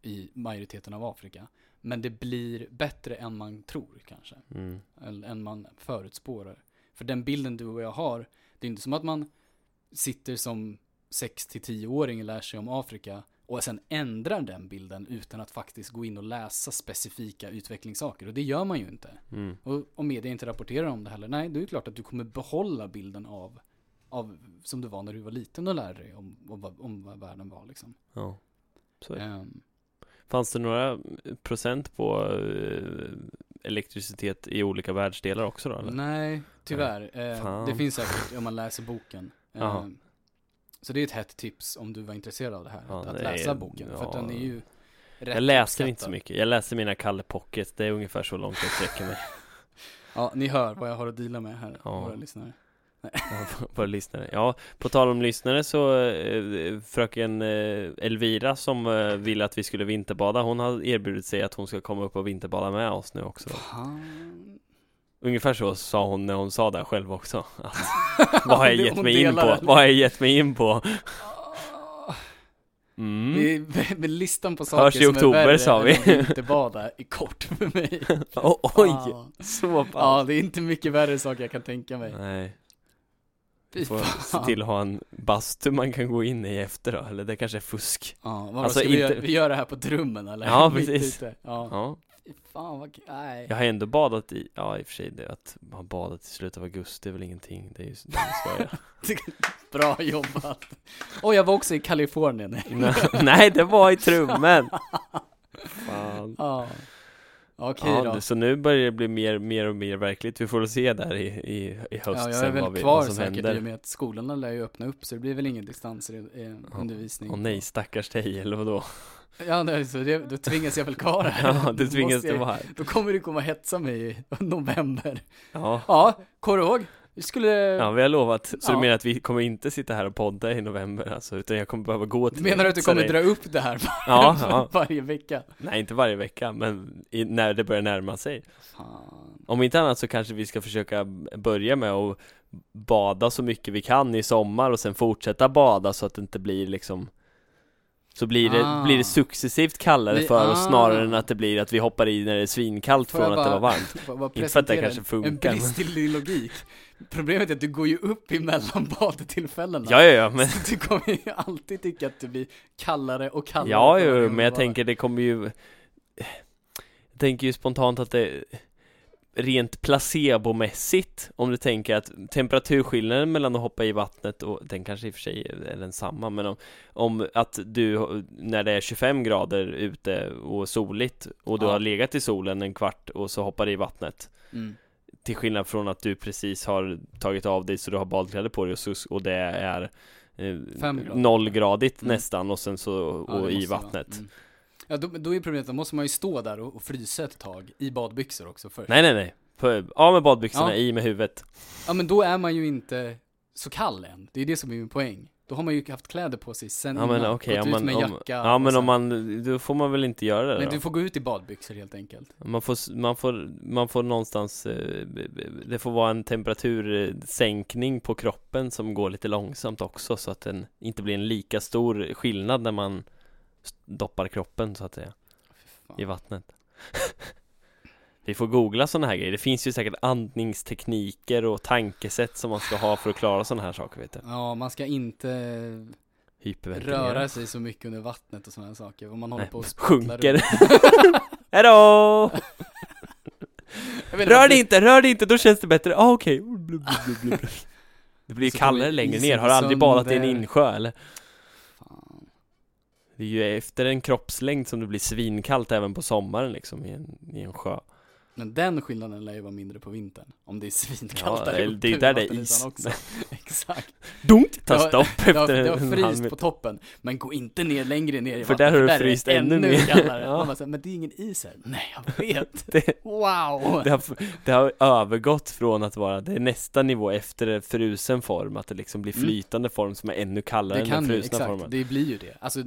[SPEAKER 2] i majoriteten av Afrika. Men det blir bättre än man tror kanske.
[SPEAKER 1] Mm.
[SPEAKER 2] eller än man förutspårar. För den bilden du och jag har, det är inte som att man sitter som 6-10-åring och lär sig om Afrika och sen ändrar den bilden utan att faktiskt gå in och läsa specifika utvecklingssaker. Och det gör man ju inte.
[SPEAKER 1] Mm.
[SPEAKER 2] Och om media inte rapporterar om det heller, nej, då är det klart att du kommer behålla bilden av, av som du var när du var liten och lärde dig om, om, vad- om vad världen var liksom.
[SPEAKER 1] Ja. Så är det.
[SPEAKER 2] Ehm,
[SPEAKER 1] Fanns det några procent på eh, elektricitet i olika världsdelar också då? Eller?
[SPEAKER 2] Nej, tyvärr. Eh,
[SPEAKER 1] Fan.
[SPEAKER 2] det finns säkert om man
[SPEAKER 1] [LAUGHS]
[SPEAKER 2] läser boken. Eh,
[SPEAKER 1] Jaha.
[SPEAKER 2] så det är ett hett tips om du var intresserad av det här.
[SPEAKER 1] Ja,
[SPEAKER 2] att
[SPEAKER 1] det
[SPEAKER 2] läsa
[SPEAKER 1] är-
[SPEAKER 2] boken.
[SPEAKER 1] ja.
[SPEAKER 2] För att den är ju rätt
[SPEAKER 1] Jag läser inte så
[SPEAKER 2] uppskattad.
[SPEAKER 1] mycket, jag läser mina Kalle Pocket, det är ungefär så långt jag sträcker
[SPEAKER 2] [LAUGHS]
[SPEAKER 1] mig.
[SPEAKER 2] Ja, ni hör vad jag har att dela med här,
[SPEAKER 1] Ja.
[SPEAKER 2] våra lyssnare.
[SPEAKER 1] Ja, Våra lyssnare. Ja, på tal om lyssnare så eh, fröken eh, Elvira som eh, ville att vi skulle vinterbada, hon har erbjudit sig att hon ska komma upp och vinterbada med oss nu också.
[SPEAKER 2] Fan.
[SPEAKER 1] Ungefär så sa hon när hon sa det själv också. Att, [LAUGHS] vad har jag
[SPEAKER 2] [LAUGHS] Det-
[SPEAKER 1] gett
[SPEAKER 2] hon
[SPEAKER 1] mig in
[SPEAKER 2] delar
[SPEAKER 1] på?
[SPEAKER 2] den.
[SPEAKER 1] Vad har jag gett mig in på?
[SPEAKER 2] Ah.
[SPEAKER 1] Mm.
[SPEAKER 2] Det är- Med listan på saker
[SPEAKER 1] Hörs i
[SPEAKER 2] som
[SPEAKER 1] oktober,
[SPEAKER 2] är värre
[SPEAKER 1] sa vi.
[SPEAKER 2] än att inte bada i kort för mig.
[SPEAKER 1] O- [LAUGHS] oj,
[SPEAKER 2] Fan.
[SPEAKER 1] så pass.
[SPEAKER 2] Ja, det är inte mycket värre saker jag kan tänka mig.
[SPEAKER 1] Nej,
[SPEAKER 2] Fy
[SPEAKER 1] vi får se
[SPEAKER 2] fan.
[SPEAKER 1] till att ha en bastu man kan gå in i efter då, eller det kanske är fusk.
[SPEAKER 2] Ja, vadå,
[SPEAKER 1] Alltså,
[SPEAKER 2] ska vi,
[SPEAKER 1] inte-
[SPEAKER 2] göra, vi gör det här på drömmen eller?
[SPEAKER 1] Ja,
[SPEAKER 2] [LAUGHS] Mitt
[SPEAKER 1] precis.
[SPEAKER 2] ute. Ja.
[SPEAKER 1] Ja.
[SPEAKER 2] Fy Fan vad, k- nej.
[SPEAKER 1] Jag har ändå badat i, ja i och för sig det att man badat i slutet av augusti är väl ingenting, det är ju det är ju så
[SPEAKER 2] Bra jobbat! Och jag var också
[SPEAKER 1] [LAUGHS]
[SPEAKER 2] i Kalifornien. [LAUGHS]
[SPEAKER 1] jag. Nej det var i trummen! Fan.
[SPEAKER 2] Ja. Okej
[SPEAKER 1] Ja,
[SPEAKER 2] då.
[SPEAKER 1] det- så nu börjar det bli mer, mer och mer verkligt, vi får väl se där i, i, i höst
[SPEAKER 2] Ja, jag är
[SPEAKER 1] sen vad,
[SPEAKER 2] väl
[SPEAKER 1] vi,
[SPEAKER 2] kvar
[SPEAKER 1] vad som
[SPEAKER 2] säkert i och
[SPEAKER 1] händer.
[SPEAKER 2] med att skolorna lär ju öppna upp så det blir väl ingen
[SPEAKER 1] Ja.
[SPEAKER 2] distansundervisning.
[SPEAKER 1] Åh nej, stackars dig, eller
[SPEAKER 2] [LAUGHS]
[SPEAKER 1] vadå?
[SPEAKER 2] Ja, nej, så det, då tvingas jag väl kvar här.
[SPEAKER 1] [LAUGHS] Ja,
[SPEAKER 2] Då
[SPEAKER 1] du tvingas
[SPEAKER 2] måste jag-
[SPEAKER 1] du vara här.
[SPEAKER 2] Då kommer du komma och hetsa mig i november.
[SPEAKER 1] Ja.
[SPEAKER 2] Ja, kommer du ihåg? Vi skulle...
[SPEAKER 1] Ja, vi har lovat. Så du
[SPEAKER 2] Ja.
[SPEAKER 1] menar att vi kommer inte sitta här och podda i november alltså, utan jag kommer behöva gå till
[SPEAKER 2] Menar du att du
[SPEAKER 1] till
[SPEAKER 2] kommer
[SPEAKER 1] dig.
[SPEAKER 2] dra upp det här [LAUGHS]
[SPEAKER 1] Ja, ja.
[SPEAKER 2] varje vecka?
[SPEAKER 1] Nej, inte varje vecka, men i, när det börjar närma sig.
[SPEAKER 2] Fan.
[SPEAKER 1] Om inte annat så kanske vi ska försöka börja med att bada så mycket vi kan i sommar och sen fortsätta bada så att det inte blir liksom så blir det,
[SPEAKER 2] Ah.
[SPEAKER 1] blir det successivt kallare
[SPEAKER 2] Vi-
[SPEAKER 1] för oss
[SPEAKER 2] ah.
[SPEAKER 1] snarare än att det blir att vi hoppar i när det är svinkallt
[SPEAKER 2] Får
[SPEAKER 1] från att
[SPEAKER 2] jag
[SPEAKER 1] det var
[SPEAKER 2] bara-
[SPEAKER 1] varmt
[SPEAKER 2] [LAUGHS] Får jag bara
[SPEAKER 1] Inte för att det
[SPEAKER 2] presentera
[SPEAKER 1] kanske
[SPEAKER 2] en-
[SPEAKER 1] funkar,
[SPEAKER 2] En brist i din logik. Problemet är att du går ju upp emellan badtillfällena.
[SPEAKER 1] Ja, ja, ja, men
[SPEAKER 2] Du kommer ju alltid tycka att det blir kallare och kallare.
[SPEAKER 1] Ja,
[SPEAKER 2] för varje
[SPEAKER 1] jo,
[SPEAKER 2] gång
[SPEAKER 1] men jag
[SPEAKER 2] du
[SPEAKER 1] tänker det kommer ju Jag tänker ju spontant att det Rent placebomässigt Om du tänker att temperaturskillnaden mellan att hoppa i vattnet och Den kanske i och för sig är densamma men om, om att du När det är 25 grader ute och soligt Och du
[SPEAKER 2] Ja.
[SPEAKER 1] har legat i solen en kvart och så hoppar i vattnet
[SPEAKER 2] badar. Mm.
[SPEAKER 1] Till skillnad från att du precis har tagit av dig så du har badkläder på dig och, så, och det är eh,
[SPEAKER 2] Fem grader.
[SPEAKER 1] Nollgradigt
[SPEAKER 2] Mm.
[SPEAKER 1] nästan och sen så
[SPEAKER 2] Ja,
[SPEAKER 1] och
[SPEAKER 2] det
[SPEAKER 1] i
[SPEAKER 2] måste vara.
[SPEAKER 1] vattnet
[SPEAKER 2] Mm. Ja, då, då är problemet att då måste man ju stå där och, och frysa ett tag i badbyxor också först.
[SPEAKER 1] Nej nej nej, På- av med badbyxorna,
[SPEAKER 2] Ja.
[SPEAKER 1] i med huvudet
[SPEAKER 2] Ja, men då är man ju inte så kall än. Det är det som är min poäng. Då har man ju haft kläder på sig sen
[SPEAKER 1] Ja men
[SPEAKER 2] innan.
[SPEAKER 1] okej,
[SPEAKER 2] Gått
[SPEAKER 1] ja,
[SPEAKER 2] ut med
[SPEAKER 1] men om,
[SPEAKER 2] jacka
[SPEAKER 1] ja,
[SPEAKER 2] och
[SPEAKER 1] men
[SPEAKER 2] så
[SPEAKER 1] om
[SPEAKER 2] här.
[SPEAKER 1] man, då får man väl inte göra det
[SPEAKER 2] Men
[SPEAKER 1] då?
[SPEAKER 2] du får gå ut i badbyxor helt enkelt.
[SPEAKER 1] Man får, s- man får, man får någonstans, eh, b- b- det får vara en temperatursänkning på kroppen som går lite långsamt också så att den inte blir en lika stor skillnad när man s- doppar kroppen så att säga
[SPEAKER 2] Fy fan.
[SPEAKER 1] i vattnet. [LAUGHS] Vi får googla sådana här grejer. Det finns ju säkert andningstekniker och tankesätt som man ska ha för att klara sådana här saker vet du.
[SPEAKER 2] Ja, man ska inte
[SPEAKER 1] Hyperventilera.
[SPEAKER 2] röra sig så mycket under vattnet och sådana saker. Om man håller
[SPEAKER 1] Nej,
[SPEAKER 2] på och sprattlar
[SPEAKER 1] Sjunker. [LAUGHS]
[SPEAKER 2] runt. [LAUGHS]
[SPEAKER 1] Hejdå!
[SPEAKER 2] Jag vet
[SPEAKER 1] Rör
[SPEAKER 2] att
[SPEAKER 1] dig inte, rör dig inte, då känns det bättre. Ah,
[SPEAKER 2] [LAUGHS]
[SPEAKER 1] okej. Blub, blub, blub, blub. Det blir ju
[SPEAKER 2] Så
[SPEAKER 1] kallare
[SPEAKER 2] kommer
[SPEAKER 1] längre
[SPEAKER 2] isen
[SPEAKER 1] ner. Har du aldrig badat i en
[SPEAKER 2] sönder.
[SPEAKER 1] insjö eller?
[SPEAKER 2] Fan.
[SPEAKER 1] Det är ju efter en kroppslängd som det blir svinkallt även på sommaren liksom i en, i en sjö.
[SPEAKER 2] Men den skillnaden lär ju vara mindre på vintern. Om det är svinkallt
[SPEAKER 1] Ja,
[SPEAKER 2] där
[SPEAKER 1] det är-
[SPEAKER 2] uppe
[SPEAKER 1] det är
[SPEAKER 2] i
[SPEAKER 1] där det är
[SPEAKER 2] vattenytan
[SPEAKER 1] is.
[SPEAKER 2] också. [LAUGHS] Exakt.
[SPEAKER 1] Dunk!
[SPEAKER 2] Det
[SPEAKER 1] Ta
[SPEAKER 2] har-
[SPEAKER 1] stopp
[SPEAKER 2] Det har,
[SPEAKER 1] efter
[SPEAKER 2] det har
[SPEAKER 1] en halv
[SPEAKER 2] fryst på
[SPEAKER 1] minut. [LAUGHS]
[SPEAKER 2] toppen, men gå inte ner längre ner i
[SPEAKER 1] För
[SPEAKER 2] vattnet.
[SPEAKER 1] där har du
[SPEAKER 2] är det
[SPEAKER 1] fryst ännu mer. [LAUGHS]
[SPEAKER 2] kallare.
[SPEAKER 1] Ja.
[SPEAKER 2] Man bara så här, men det är ingen is här. Nej, jag
[SPEAKER 1] [LAUGHS]
[SPEAKER 2] vet.
[SPEAKER 1] Det-
[SPEAKER 2] Wow!
[SPEAKER 1] Det har, det har övergått från att vara, det är nästa nivå efter frusen form, att det liksom blir
[SPEAKER 2] Mm.
[SPEAKER 1] flytande form som är ännu kallare
[SPEAKER 2] Det
[SPEAKER 1] än den
[SPEAKER 2] kan ju,
[SPEAKER 1] frusna
[SPEAKER 2] exakt,
[SPEAKER 1] formen.
[SPEAKER 2] det blir ju det. Alltså,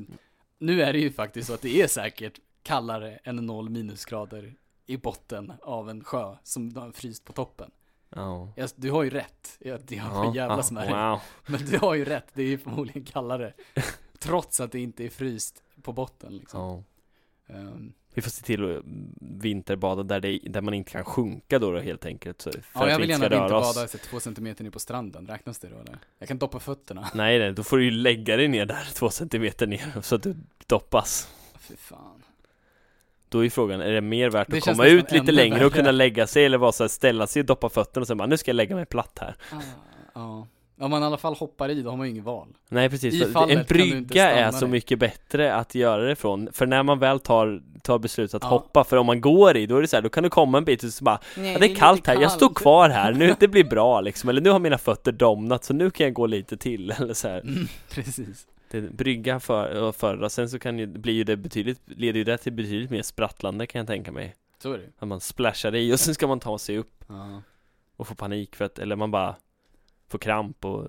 [SPEAKER 2] nu är det ju faktiskt så att det är säkert kallare än noll minusgrader i botten av en sjö som har fryst på toppen.
[SPEAKER 1] Ja.
[SPEAKER 2] Alltså, du har ju rätt, jag, det har för jävla smärre.
[SPEAKER 1] wow.
[SPEAKER 2] Men du har ju rätt, det är ju förmodligen kallare. Trots att det inte är fryst på botten liksom.
[SPEAKER 1] Ja.
[SPEAKER 2] Ehm,
[SPEAKER 1] Vi får se till att vinterbada där, det, där man inte kan sjunka då, då helt enkelt. Så för
[SPEAKER 2] ja,
[SPEAKER 1] att
[SPEAKER 2] jag
[SPEAKER 1] vi
[SPEAKER 2] vill
[SPEAKER 1] inte ska
[SPEAKER 2] gärna
[SPEAKER 1] röra oss.
[SPEAKER 2] vinterbada så två centimeter ner på stranden, räknas det då eller? Jag kan doppa fötterna. [LAUGHS]
[SPEAKER 1] Nej, nej, då får du ju lägga dig ner där [LAUGHS] två centimeter ner så att du doppas.
[SPEAKER 2] Fy fan.
[SPEAKER 1] Då är frågan, är det mer värt
[SPEAKER 2] Det
[SPEAKER 1] att
[SPEAKER 2] känns
[SPEAKER 1] komma
[SPEAKER 2] nästan
[SPEAKER 1] ut lite
[SPEAKER 2] ännu
[SPEAKER 1] längre och
[SPEAKER 2] värre.
[SPEAKER 1] kunna lägga sig eller vara så här, ställa sig och doppa fötterna och sen bara, nu ska jag lägga mig platt här.
[SPEAKER 2] Ah, ja. Om man i alla fall hoppar i, då har man ju ingen val.
[SPEAKER 1] Nej precis,
[SPEAKER 2] I
[SPEAKER 1] Så
[SPEAKER 2] fallet
[SPEAKER 1] en
[SPEAKER 2] kan du inte
[SPEAKER 1] brygga är
[SPEAKER 2] stanna
[SPEAKER 1] så
[SPEAKER 2] dig.
[SPEAKER 1] mycket bättre att göra det från För när man väl tar, tar beslut att
[SPEAKER 2] Ja.
[SPEAKER 1] hoppa, för om man går i, då är det så här, då kan du komma en bit och så bara
[SPEAKER 2] Nej,
[SPEAKER 1] ja, det är kallt här, jag står kvar här, nu, det blir bra liksom Eller nu har mina fötter domnat så nu kan jag gå lite till [LAUGHS] eller så här.
[SPEAKER 2] Mm, [LAUGHS] precis.
[SPEAKER 1] Det, brygga för, och förra, sen så kan ju, blir ju det betydligt, leder ju det till betydligt mer sprattlande kan jag tänka mig
[SPEAKER 2] Så är det
[SPEAKER 1] Att man splashar i och sen ska man ta sig upp
[SPEAKER 2] ja.
[SPEAKER 1] och få panik för att, eller man bara får kramp och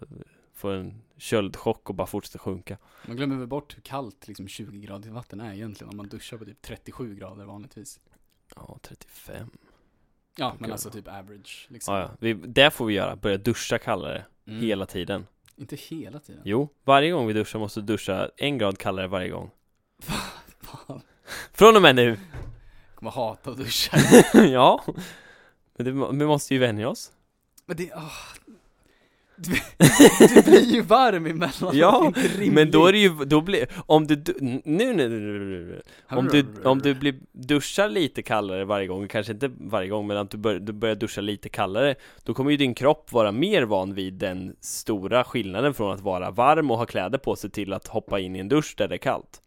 [SPEAKER 1] får en köldchock och bara fortsätter sjunka
[SPEAKER 2] Man glömmer väl bort hur kallt liksom 20 grader vatten är egentligen om man duschar på typ 37 grader vanligtvis.
[SPEAKER 1] Ja, 35
[SPEAKER 2] Ja,
[SPEAKER 1] Tycker
[SPEAKER 2] men
[SPEAKER 1] jag.
[SPEAKER 2] alltså typ average liksom.
[SPEAKER 1] Ja, ja. Vi, det får vi göra, börja duscha kallare
[SPEAKER 2] Mm.
[SPEAKER 1] hela tiden
[SPEAKER 2] Inte hela tiden.
[SPEAKER 1] Jo, varje gång vi duschar måste vi duscha en grad kallare varje gång
[SPEAKER 2] Fan,
[SPEAKER 1] Från och med nu!
[SPEAKER 2] jag kommer hata
[SPEAKER 1] [LAUGHS]
[SPEAKER 2] att duscha.
[SPEAKER 1] ja Men det, vi måste ju vänja oss
[SPEAKER 2] men det, åh. Du, du blir ju varm emellanåt,
[SPEAKER 1] Ja,
[SPEAKER 2] det är inte rimligt.
[SPEAKER 1] Men då är det ju, då blir, om du, du nu, nu, nu, nu, nu, nu. Om du, om du blir, duschar lite kallare varje gång, kanske inte varje gång men att du, bör, du börjar duscha lite kallare Då kommer ju din kropp vara mer van vid den stora skillnaden från att vara varm och ha kläder på sig till att hoppa in i en dusch där det är kallt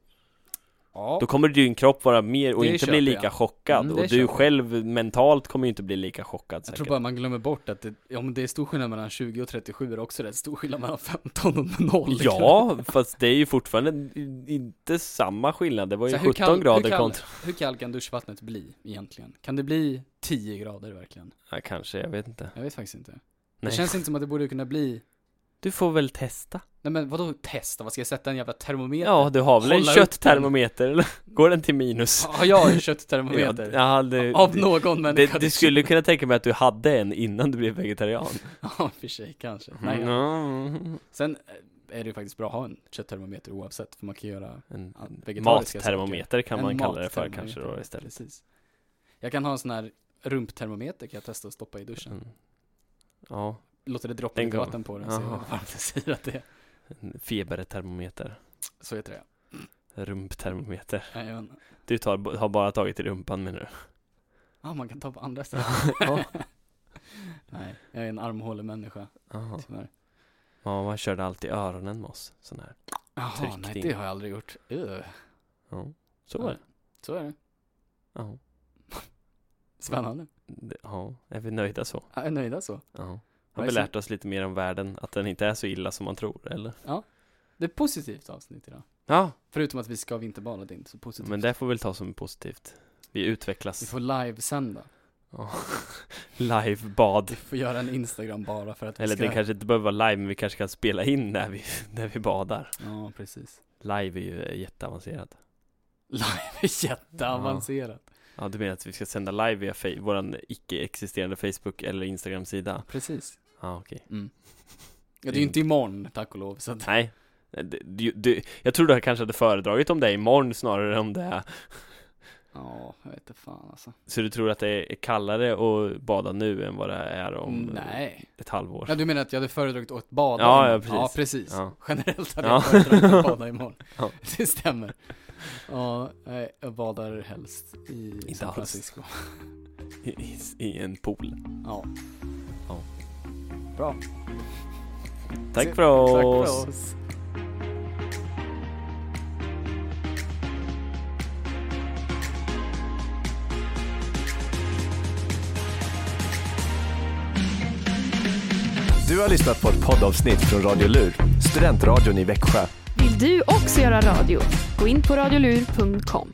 [SPEAKER 2] Ja,
[SPEAKER 1] Då kommer din kropp vara mer och
[SPEAKER 2] Det
[SPEAKER 1] inte
[SPEAKER 2] köper
[SPEAKER 1] bli
[SPEAKER 2] jag.
[SPEAKER 1] lika chockad
[SPEAKER 2] Mm, det
[SPEAKER 1] och du
[SPEAKER 2] köper jag.
[SPEAKER 1] själv mentalt kommer ju inte bli lika chockad
[SPEAKER 2] jag
[SPEAKER 1] säkert.
[SPEAKER 2] tror bara man glömmer bort att det, ja, men det är stor skillnad mellan 20 och 37 är det också rätt stor skillnad mellan 15 och 0. liksom.
[SPEAKER 1] Ja, [LAUGHS] fast det är ju fortfarande i- inte samma skillnad. Det var ju
[SPEAKER 2] Så här, hur
[SPEAKER 1] 17
[SPEAKER 2] kall- hur
[SPEAKER 1] grader
[SPEAKER 2] kall-
[SPEAKER 1] kontra...
[SPEAKER 2] Hur kallt kan duschvattnet bli egentligen? Kan det bli 10 grader verkligen?
[SPEAKER 1] Ja, kanske, jag vet inte.
[SPEAKER 2] Jag vet faktiskt inte.
[SPEAKER 1] Nej.
[SPEAKER 2] Det känns inte som att det borde kunna bli
[SPEAKER 1] Du får väl testa.
[SPEAKER 2] Nej men vadå testa? Vad ska jag sätta en jävla termometer?
[SPEAKER 1] Ja, du har väl en
[SPEAKER 2] Hålla upp
[SPEAKER 1] kötttermometer eller? Går den till minus?
[SPEAKER 2] Har jag en
[SPEAKER 1] Ja,
[SPEAKER 2] kötttermometer?
[SPEAKER 1] ja, det,
[SPEAKER 2] Av någon människa
[SPEAKER 1] det, du skulle kunna tänka mig att du hade en innan du blev vegetarian.
[SPEAKER 2] [LAUGHS] Ja, för sig kanske [LAUGHS] Nej, ja.
[SPEAKER 1] Mm.
[SPEAKER 2] Sen eh, är det ju faktiskt bra att ha en kötttermometer oavsett För man kan göra
[SPEAKER 1] En
[SPEAKER 2] ja, vegetariska
[SPEAKER 1] mattermometer kan
[SPEAKER 2] En
[SPEAKER 1] man kalla det för
[SPEAKER 2] mattermometer,
[SPEAKER 1] kanske då istället.
[SPEAKER 2] Precis Jag kan ha en sån här rumptermometer kan jag testa att stoppa i duschen
[SPEAKER 1] Mm. Ja,
[SPEAKER 2] Låter det droppa
[SPEAKER 1] Den
[SPEAKER 2] lite
[SPEAKER 1] går.
[SPEAKER 2] vatten på den så jag
[SPEAKER 1] Jaha.
[SPEAKER 2] vet hur varmt det säger att det är
[SPEAKER 1] en febertermometer.
[SPEAKER 2] Så heter det
[SPEAKER 1] Rumptermometer.
[SPEAKER 2] ja jag vet inte.
[SPEAKER 1] Du tar, har bara tagit i rumpan menar du?
[SPEAKER 2] Ja, man kan ta på andra ställen
[SPEAKER 1] [LAUGHS] Ja.
[SPEAKER 2] Nej, jag är en armhålemänniska
[SPEAKER 1] Jaha.
[SPEAKER 2] tyvärr
[SPEAKER 1] Ja, man körde alltid öronen med oss. Sån här.
[SPEAKER 2] Jaha,
[SPEAKER 1] Tryck
[SPEAKER 2] nej
[SPEAKER 1] in.
[SPEAKER 2] det har jag aldrig gjort Ugh.
[SPEAKER 1] Ja. Så var det.
[SPEAKER 2] Så är det
[SPEAKER 1] Ja.
[SPEAKER 2] Spännande.
[SPEAKER 1] Det- Ja. Är vi nöjda så?
[SPEAKER 2] Jag är nöjda så.
[SPEAKER 1] Ja. Har
[SPEAKER 2] Nej,
[SPEAKER 1] vi
[SPEAKER 2] så-
[SPEAKER 1] lärt oss lite mer om världen? Att den inte är så illa som man tror, eller?
[SPEAKER 2] Det är ett positivt avsnitt idag.
[SPEAKER 1] Ja.
[SPEAKER 2] Förutom att vi ska vinterbada, det är inte så positivt.
[SPEAKER 1] Men det får typ- vi väl ta som positivt. Vi
[SPEAKER 2] Vi
[SPEAKER 1] utvecklas.
[SPEAKER 2] får livesända.
[SPEAKER 1] [LAUGHS] Livebad
[SPEAKER 2] Vi får göra en Instagram bara för att vi
[SPEAKER 1] Eller
[SPEAKER 2] ska...
[SPEAKER 1] det kanske inte behöver vara live men vi kanske kan spela in när vi, [LAUGHS] när vi badar
[SPEAKER 2] Ja, precis. [LAUGHS]
[SPEAKER 1] Live är ju jätteavancerat
[SPEAKER 2] Jätteavancerat.
[SPEAKER 1] Ja du menar att vi ska sända live via fe- våran icke-existerande Facebook eller Instagram-sida?
[SPEAKER 2] Precis.
[SPEAKER 1] Ja okej
[SPEAKER 2] Mm. Ja,
[SPEAKER 1] Mm.
[SPEAKER 2] det är ju inte imorgon, tack och lov. Så att...
[SPEAKER 1] Nej du, du, du, Jag tror du kanske hade föredragit om det imorgon snarare än om det här
[SPEAKER 2] Ja, jag vet inte fan alltså.
[SPEAKER 1] Så du tror att det är kallare att bada nu än vad det är om
[SPEAKER 2] Mm, Nej.
[SPEAKER 1] ett halvår?
[SPEAKER 2] Ja, du menar att jag hade föredragit att bada
[SPEAKER 1] Ja,
[SPEAKER 2] imorgon?
[SPEAKER 1] ja, precis.
[SPEAKER 2] Ja, precis.
[SPEAKER 1] Ja.
[SPEAKER 2] Generellt hade
[SPEAKER 1] Ja.
[SPEAKER 2] jag föredragit att bada imorgon.
[SPEAKER 1] [LAUGHS] Ja.
[SPEAKER 2] Det stämmer. Ja, nej, jag badar helst i San
[SPEAKER 1] alls.
[SPEAKER 2] Francisco.
[SPEAKER 1] I, i, I en pool
[SPEAKER 2] Ja.
[SPEAKER 1] Ja.
[SPEAKER 2] Bra.
[SPEAKER 1] Tack för
[SPEAKER 2] Tack
[SPEAKER 1] oss!
[SPEAKER 2] för oss.
[SPEAKER 3] Du har lyssnat på ett poddavsnitt från Radio Lur, studentradion i Växjö.
[SPEAKER 4] Vill du också göra radio? Gå in på radiolur.com.